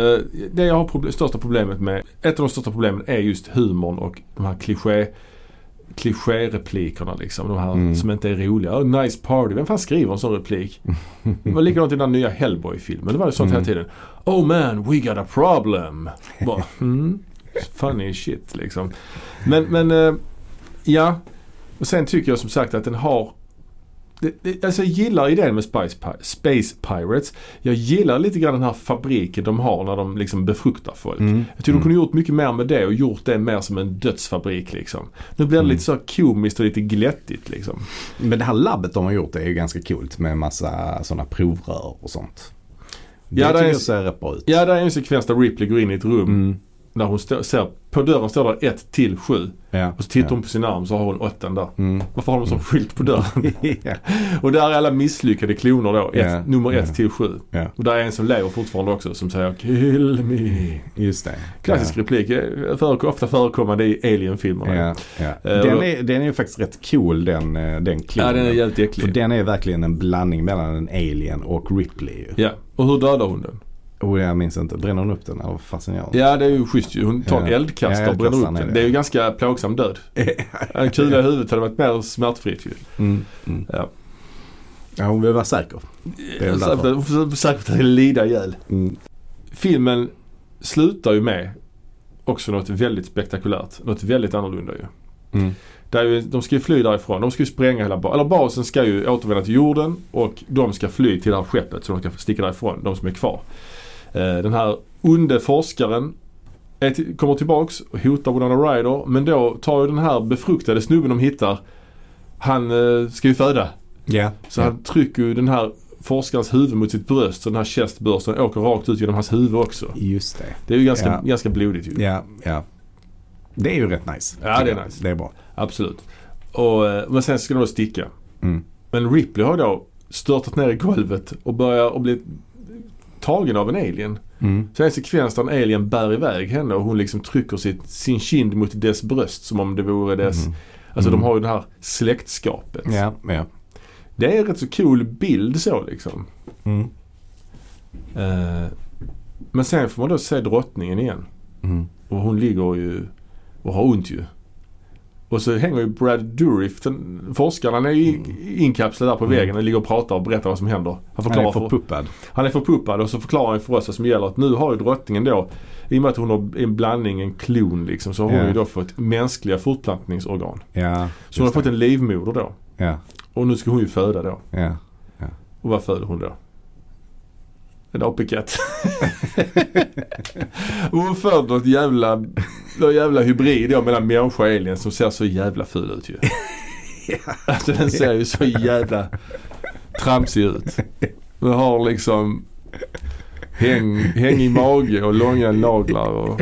A: det jag har proble- största problemet med, ett av de största problemen är just humorn och de här kliché klichéreplikerna liksom. De här
B: Mm.
A: som inte är roliga. Oh, nice party. Vem fan skriver en sån replik? Det var likadant i den nya Hellboy-filmen. Det var ju sånt
B: Mm.
A: hela tiden. Oh man, we got a problem. Bara, mm, funny shit liksom. Men, men eh, ja. Och sen tycker jag som sagt att den har det, det, alltså jag gillar idén med Spice, Pi- Space Pirates. Jag gillar lite grann den här fabriken de har när de liksom befruktar folk.
B: Mm.
A: Jag tycker de kunde gjort mycket mer med det och gjort det mer som en dödsfabrik liksom. Nu blir det
B: Mm.
A: lite så här komiskt och lite glättigt liksom.
B: Men det här labbet de har gjort är ju ganska coolt med massa sådana provrör och sånt. Det
A: Ja, det
B: tycker
A: är-
B: jag ser rätt bra ut.
A: Ja, det är en sekvens där Ripley går in i ett rum
B: Mm.
A: där hon står, ser, på dörren står det 1 till 7
B: Ja.
A: och så tittar
B: ja.
A: hon på sin arm så har hon åttan där.
B: Mm.
A: Varför har de sån skylt på dörren?
B: ja.
A: Och där är alla misslyckade kloner då, ett,
B: Ja.
A: nummer 1
B: Ja.
A: till 7.
B: ja,
A: Och där är en som lever fortfarande också som säger Kill me.
B: just det.
A: Klassisk replik, eh, förek- ofta förekommande i Alien-filmerna.
B: Ja. Ja. Ja. Den, är, den är ju faktiskt rätt cool den, eh, den
A: Eh, Ja,
B: klonen.
A: den är jävligt
B: För
A: äcklig.
B: den är verkligen en blandning mellan en alien och Ripley ju.
A: Ja. Och hur dödar hon den?
B: Oh, jag minns inte. Bränner hon upp den eller vad fasen gör hon?
A: Ja, det är ju schysst ju. Hon tar en
B: Ja.
A: eldkastare
B: Ja,
A: och bränner upp
B: eldkastaren är
A: den.
B: det.
A: Det är ju ganska plågsam död. En kula i huvudet hade varit mer smärtfritt ju.
B: Mm. Mm.
A: Ja.
B: ja, hon vill vara säker. Det är väl
A: Säkert
B: därför.
A: hon försöker säkert att lida ihjäl.
B: Mm.
A: Filmen slutar ju med också något väldigt spektakulärt. Något väldigt annorlunda ju.
B: Mm.
A: Det är ju, de ska ju fly därifrån. De ska ju spränga hela basen. Eller basen ska ju återvända till jorden och de ska fly till det här skeppet så de ska sticka därifrån, de som är kvar. Eh, Den här onde forskaren är till, kommer tillbaks och hotar Winona Ryder. Men då tar ju den här befruktade snubben de hittar, han eh, ska ju föda.
B: Ja.
A: Så
B: ja.
A: han trycker ju den här forskarens huvud mot sitt bröst så den här chestbursten åker rakt ut genom hans huvud också.
B: Just det.
A: Det är ju ganska,
B: Ja.
A: ganska blodigt ju.
B: Ja, ja. Det är ju rätt nice.
A: Ja,
B: tycker
A: det är
B: jag.
A: nice.
B: Det är bra.
A: Absolut. Och, eh, men sen ska de då sticka.
B: Mm.
A: Men Ripley har då störtat ner i golvet och börjar och bli tagen av en alien.
B: Mm.
A: Så är det en sekvens där en alien bär iväg henne och hon liksom trycker sitt, sin kind mot dess bröst som om det vore dess... Alltså
B: Mm.
A: de har ju det här släktskapet.
B: Ja, ja.
A: Det är en rätt så cool bild så liksom.
B: Mm.
A: Eh, men sen får man då se drottningen igen.
B: Mm.
A: Och hon ligger ju och har ont ju. Och så hänger ju Brad Dourif, den forskaren, han är ju in- inkapslad där på väggen och ligger och pratar och berättar vad som händer. Han
B: Mm. Han
A: förklarar
B: är
A: för,
B: förpuppad.
A: han är förpuppad och så förklarar han för oss vad som gäller. Att nu har ju drottningen då, i och med att hon har en blandning, en klon liksom, så har hon
B: Ja.
A: ju då fått mänskliga fortplantningsorgan.
B: Ja,
A: Så hon har
B: just
A: fått
B: det.
A: en livmoder då.
B: Ja,
A: Och nu ska hon ju föda då.
B: ja.
A: Och vad föder hon då? En apekatt. Och hon föder något jävla, någon jävla hybrid då mellan människa och alien som ser så jävla ful ut ju. Alltså den ser ju så jävla tramsig ut. Den har liksom häng, häng i mage och långa naglar och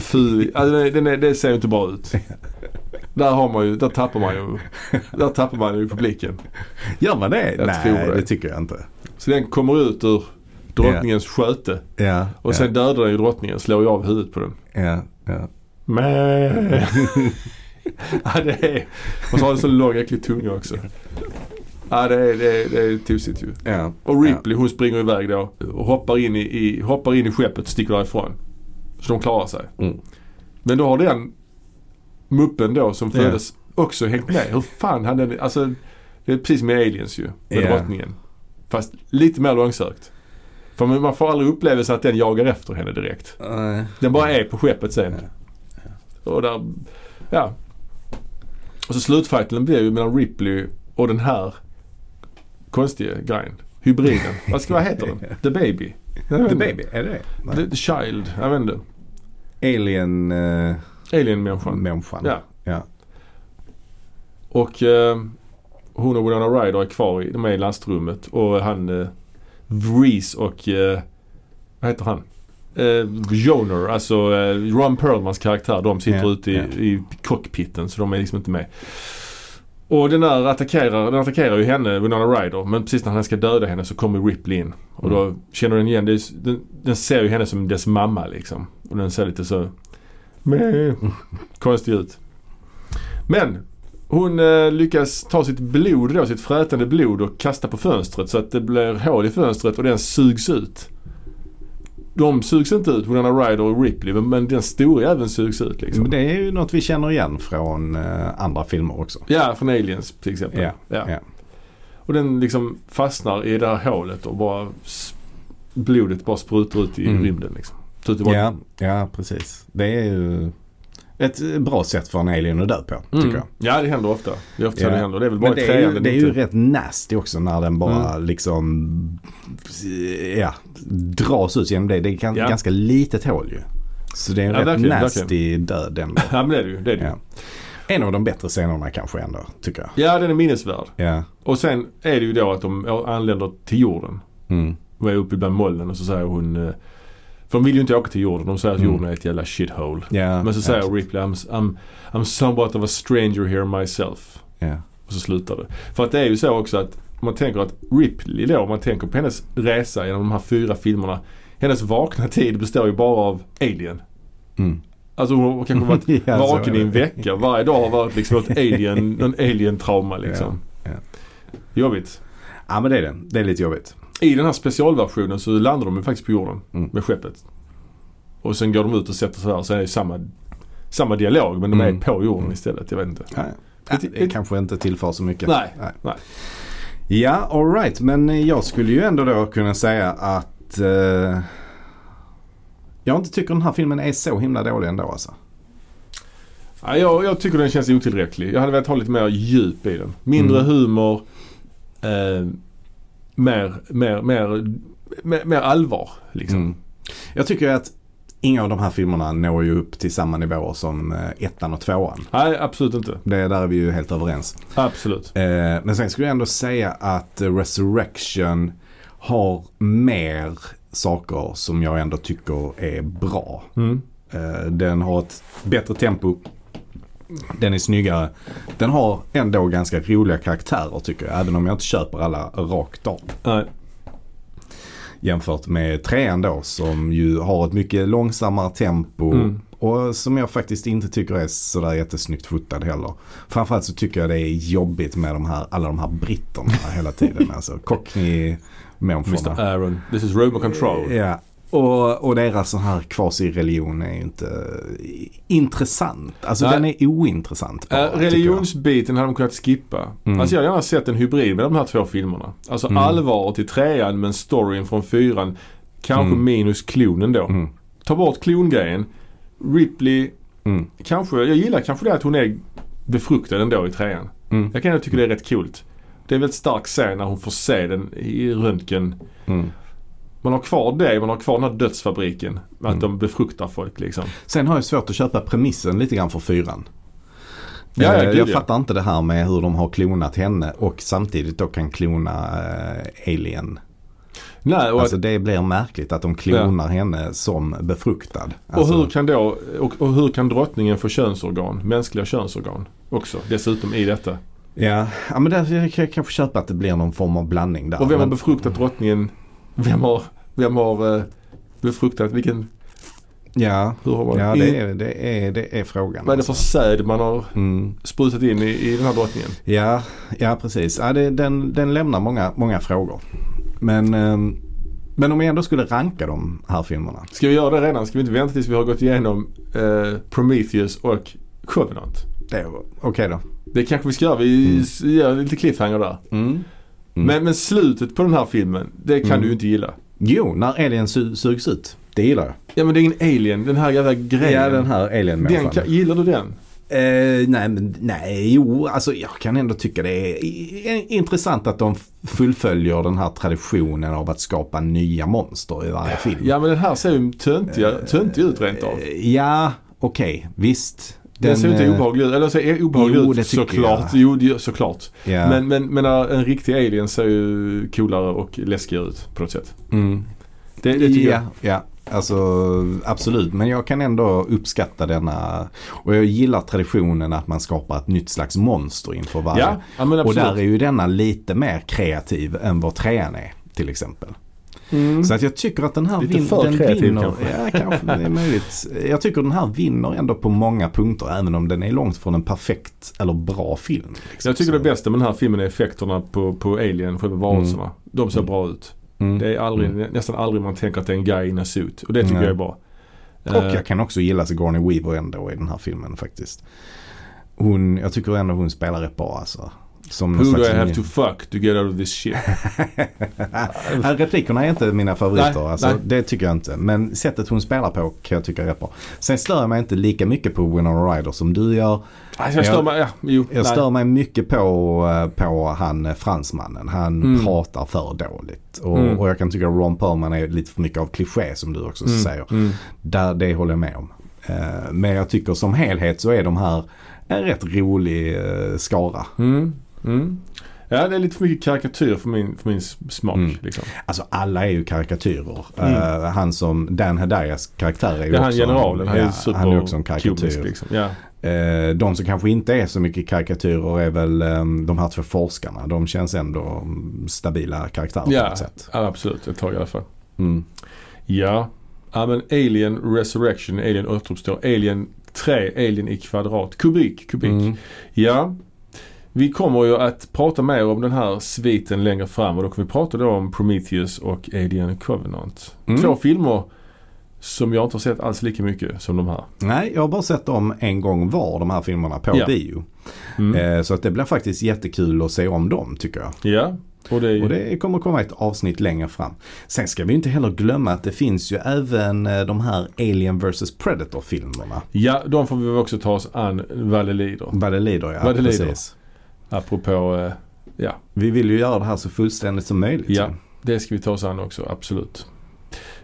A: ful. Alltså den, den är, det ser ju inte bra ut. Där har man ju, där tappar man ju, där tappar man ju publiken.
B: Gör man det?
A: Jag
B: Nej,
A: tror
B: det.
A: det.
B: tycker jag inte.
A: Så den kommer ut ur drottningens sköte.
B: Ja,
A: Och sen dödar den ju drottningen, slår ju av huvudet på den.
B: ja, ja, ja.
A: Men. ja, det är... Och så har den så lång äcklig tunga också. Ja, det är, det är, det är tosigt ju.
B: ja.
A: Och Ripley hon springer iväg då och hoppar in i, i, hoppar in i skeppet och sticker därifrån. Så de klarar sig.
B: Mm.
A: Men då har den muppen då som
B: Ja.
A: föddes också hängt med. Hur fan hade den... Alltså, det är precis som i Aliens ju. Med
B: Ja.
A: drottningen. Fast lite mer långsökt. För man man får aldrig upplevelse att den jagar efter henne direkt.
B: Nej.
A: Den bara är på skeppet sen. Och där, ja. Och så slutfighten blir ju mellan Ripley och den här konstiga grejen. Hybriden. Vad, ska, vad heter den? The Baby? Jag vet
B: The
A: inte.
B: Baby, är det det?
A: The, the Child. Jag vet inte.
B: Alien-människan.
A: Alien-människan. Ja. Och eh, hon och Winona Ryder är kvar i, de är i lastrummet och han eh, Reese och eh, vad heter han? Eh, Joner, alltså eh, Ron Perlmans karaktär. De sitter
B: Ja,
A: ute i,
B: ja.
A: i cockpiten så de är liksom inte med. Och den där attackerar, den attackerar ju henne, Winona Ryder. Men precis när han ska döda henne så kommer Ripley in. Och då
B: Mm.
A: känner den igen, det är, s- den, den ser ju henne som dess mamma liksom. Och den ser lite så... Meh, konstig ut. Men hon eh, lyckas ta sitt blod då, sitt frätande blod och kasta på fönstret så att det blir hål i fönstret och den sugs ut. De sugs inte ut, Winona Ryder och Ripley, men, men den stora även sugs ut liksom.
B: Men det är ju något vi känner igen från eh, andra filmer också.
A: Ja, från Aliens till exempel.
B: Ja, ja.
A: Och den liksom fastnar i det här hålet och bara s- blodet bara sprutar ut i
B: Mm.
A: rymden liksom. Så att det bara-
B: Ja, ja precis. Det är ju ett eh, bra sätt för en alien att dö på, tycker jag.
A: Mm. Ja, det händer ofta. Det är ofta så
B: Ja.
A: det händer. Det är Mm. väl bara
B: Men
A: i
B: det är,
A: trean
B: ju,
A: den
B: det är
A: inte-
B: ju rätt nasty också när den bara liksom ja, dras ut genom det. Det är gan-
A: Ja.
B: ganska litet hål ju. Så det är en
A: Ja,
B: rätt
A: verkligen,
B: nasty
A: verkligen.
B: död den.
A: Ja, men det är det ju. Det är det. ju.
B: Ja. En av de bättre scenerna kanske ändå, tycker jag.
A: ja, den är minnesvärd.
B: Ja.
A: Och sen är det ju då att de anländer till jorden.
B: Mm.
A: Hon är uppe bland molnen och så säger hon... eh, För de vill ju inte åka till jorden. De säger att
B: Mm.
A: jorden är ett jävla shithole.
B: Ja,
A: Men så säger
B: ja,
A: Ripley I'm, I'm, I'm somewhat of a stranger here myself.
B: ja.
A: Och så slutar det. För att det är ju så också att om man tänker att Ripley då, om man tänker på hennes resa genom de här fyra filmerna. Hennes vakna tid består ju bara av Alien.
B: Mm.
A: Alltså hon har kanske varit
B: Ja, så är
A: vaken i en
B: det.
A: vecka. Varje dag har varit liksom något alien, någon alien-trauma liksom.
B: Ja,
A: Jobbigt.
B: ja, men det är det. Det är lite jobbigt.
A: I den här specialversionen så landar de ju faktiskt på jorden
B: Mm.
A: med skeppet. Och sen går de ut och sätter sig där så är det ju samma, samma dialog men de är
B: Mm.
A: på jorden
B: Mm.
A: istället. Jag vet inte.
B: Ja, ja.
A: Det-
B: Det,
A: det-
B: kanske inte tillför så mycket.
A: Nej.
B: Ja, alright. Men eh, jag skulle ju ändå då kunna säga att eh, jag inte tycker den här filmen är så himla dålig ändå alltså.
A: Ja, jag, jag tycker den känns otillräcklig. Jag hade velat ha lite mer djup i den. Mindre
B: Mm.
A: humor. Eh, mer, mer, mer, mer, mer allvar liksom.
B: Mm. Jag tycker att inga av de här filmerna når ju upp till samma nivåer som eh, ettan och tvåan.
A: Nej, absolut inte.
B: Det, där är vi ju helt överens.
A: Absolut.
B: Eh, men sen skulle jag ändå säga att eh, Resurrection har mer saker som jag ändå tycker är bra.
A: Mm.
B: Eh, Den har ett bättre tempo. Den är snyggare. Den har ändå ganska roliga karaktärer tycker jag. Även om jag inte köper alla rakt av.
A: Nej.
B: Jämfört med trean då som ju har ett mycket långsammare tempo.
A: Mm.
B: Och som jag faktiskt inte tycker är sådär jättesnyggt fotad heller. Framförallt så tycker jag det är jobbigt med de här, alla de här britterna hela tiden. Alltså cockney
A: Mr
B: människorna.
A: Aaron, this is Robo Control.
B: Ja. Och, och deras sån här kvasi-religion är ju inte i- intressant. Alltså
A: Nej.
B: den är ointressant.
A: Eh,
B: bara, tycker jag.
A: religionsbiten hade de kunnat skippa.
B: Mm.
A: Alltså jag hade gärna sett en hybrid med de här två filmerna. Alltså allvaret i trean men storyn från fyran. Kanske
B: Mm.
A: minus klonen då.
B: Mm.
A: Ta bort klongrejen. Ripley,
B: Mm.
A: kanske, jag gillar kanske det att hon är befruktad ändå i trean.
B: Mm.
A: Jag kan ju tycka det är rätt coolt. Det är en väldigt stark scen när hon får se den i röntgen.
B: Mm.
A: Man har kvar det, man har kvar den här dödsfabriken. Att
B: Mm.
A: de befruktar folk liksom.
B: Sen har jag svårt att köpa premissen lite grann för fyran.
A: Ja, ja,
B: Eh,
A: gud,
B: jag
A: ja.
B: fattar inte det här med hur de har klonat henne och samtidigt då kan klona eh, Alien.
A: Nej, och att-
B: Alltså det blir märkligt att de klonar henne som befruktad. Alltså,
A: Och hur kan då, och, och hur kan drottningen få könsorgan, mänskliga könsorgan också dessutom i detta?
B: Ja, ja men där kan jag kan- kanske köpa att det blir någon form av blandning där.
A: Och vem har
B: men,
A: befruktat drottningen? Vem har, vem har eh, befruktat vilken,
B: ja,
A: hur har man,
B: ja
A: i-
B: det, är, det, är, det är frågan.
A: vad är det för säd man har
B: mm.
A: sprutat in i, i den här drottningen?
B: Ja, ja precis. Ja, det, den, den lämnar många, många frågor. Men, ehm, men om jag ändå skulle ranka de här filmerna.
A: Ska vi göra det redan? Ska vi inte vänta tills vi har gått igenom eh, Prometheus och Covenant?
B: Det är Okej då.
A: Det kanske vi ska göra. Vi s- gör lite cliffhanger där.
B: Mm.
A: Men, men slutet på den här filmen, det kan
B: Mm.
A: du ju inte gilla.
B: Jo, när alien su- sugs ut. Det gillar jag.
A: Ja men det är ingen alien. Den här jävla grejen.
B: Ja, den här alien-människan.
A: Den kan, gillar du den?
B: Eh, nej, men nej, jo, alltså jag kan ändå tycka det är i- i- intressant att de f- fullföljer den här traditionen av att skapa nya monster i varje film.
A: Ja men den här ser ju töntiga, töntig ut rent av.
B: Eh, ja okej, visst.
A: Den, ser ju inte
B: eh,
A: obehaglig ut. Eller ser obehaglig
B: jo, det
A: ut
B: tycker
A: såklart.
B: jag.
A: Jo, det gör- såklart.
B: Ja.
A: Men, men, men äh, en riktig alien ser ju coolare och läskigare ut på något sätt.
B: mm,
A: Det, det tycker
B: ja, ja, alltså absolut. Men jag kan ändå uppskatta denna. Och jag gillar traditionen att man skapar ett nytt slags monster inför
A: jag.
B: varje.
A: Ja, ja men
B: och
A: absolut.
B: där är ju denna lite mer kreativ än vad trean är till exempel.
A: mm.
B: Så att jag tycker att den här
A: Lite
B: vin-
A: för
B: den
A: kreativ
B: vinner.
A: kanske.
B: Ja, kanske. Det är möjligt. Jag tycker den här vinner ändå på många punkter även om den är långt från en perfekt eller bra film. liksom.
A: Jag tycker det
B: Så-
A: bästa med den här filmen är effekterna på, på alien, själva varelserna. De ser
B: Mm.
A: bra ut.
B: Mm.
A: Det är aldrig,
B: Mm.
A: nästan aldrig man tänker att det är en guy in a suit. Och det tycker
B: Nej.
A: jag är bra.
B: Och
A: Eh,
B: jag kan också gilla Sigourney Weaver ändå i den här filmen faktiskt. Hon, jag tycker ändå hon spelar rätt bra alltså. Som någon
A: Who do I
B: slags-
A: have to fuck to get out of this shit?
B: Ja, Äh, Replikerna är inte mina favoriter.
A: Nej,
B: alltså,
A: nej.
B: Det tycker jag inte. Men sättet hon spelar på kan jag tycka är rätt bra. Sen stör jag mig inte lika mycket på Winona Ryder som du gör.
A: Alltså, jag stör
B: Jag-
A: mig, ja, jo,
B: Jag
A: nej.
B: stör mig mycket på, eh, på han eh, fransmannen. Han
A: Mm.
B: pratar för dåligt. Och,
A: Mm.
B: och jag kan tycka Ron Perlman är lite för mycket av kliché som du också
A: Mm,
B: säger.
A: Mm.
B: Där, det håller jag med om. Eh, Men jag tycker som helhet så är de här en rätt rolig eh, skara.
A: Mm. Mm. Ja, det är lite för mycket karikatyr för min, för min s- smak.
B: Mm.
A: Liksom.
B: Alltså alla är ju karikatyrer.
A: Mm.
B: Eh, han som Dan Hedayas karaktär är ju
A: Det är han
B: också
A: generalen, han är
B: ja,
A: ju super
B: han är också en
A: komisk,
B: karikatyr.
A: liksom. ja.
B: Eh, de som kanske inte är så mycket karikatyrer är väl eh, de här två forskarna. De känns ändå mm, stabila karaktärer på
A: Ja.
B: något sätt.
A: ja, absolut. Ett tag i alla fall.
B: Mm.
A: Ja. ja, men Alien Resurrection, Alien återuppstår, Alien 3, Alien i kvadrat, kubik, kubik.
B: Mm.
A: Ja. Vi kommer ju att prata mer om den här sviten längre fram och då kommer vi prata då om Prometheus och Alien Covenant.
B: Mm.
A: Två filmer som jag inte har sett alls lika mycket som de här.
B: Nej, jag har bara sett dem en gång var de här filmerna på
A: Ja.
B: bio.
A: Mm.
B: Eh, så att det blir faktiskt jättekul att se om dem tycker jag.
A: Ja, och det är
B: Och det kommer komma ett avsnitt längre fram. Sen ska vi inte heller glömma att det finns ju även eh, de här Alien vs Predator filmerna.
A: Ja, de får vi väl också ta oss an vad det lider.
B: Vad det lider ja.
A: Vad det lider.
B: precis.
A: Apropå, eh, ja,
B: Vi vill ju göra det här så fullständigt som möjligt.
A: ja, det ska vi ta oss an också, absolut.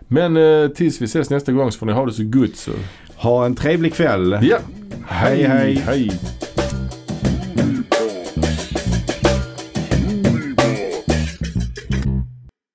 A: Men eh, tills vi ses nästa gång så får ni ha det så gott så.
B: Ha en trevlig kväll.
A: Ja,
B: Hej, hej.
A: hej.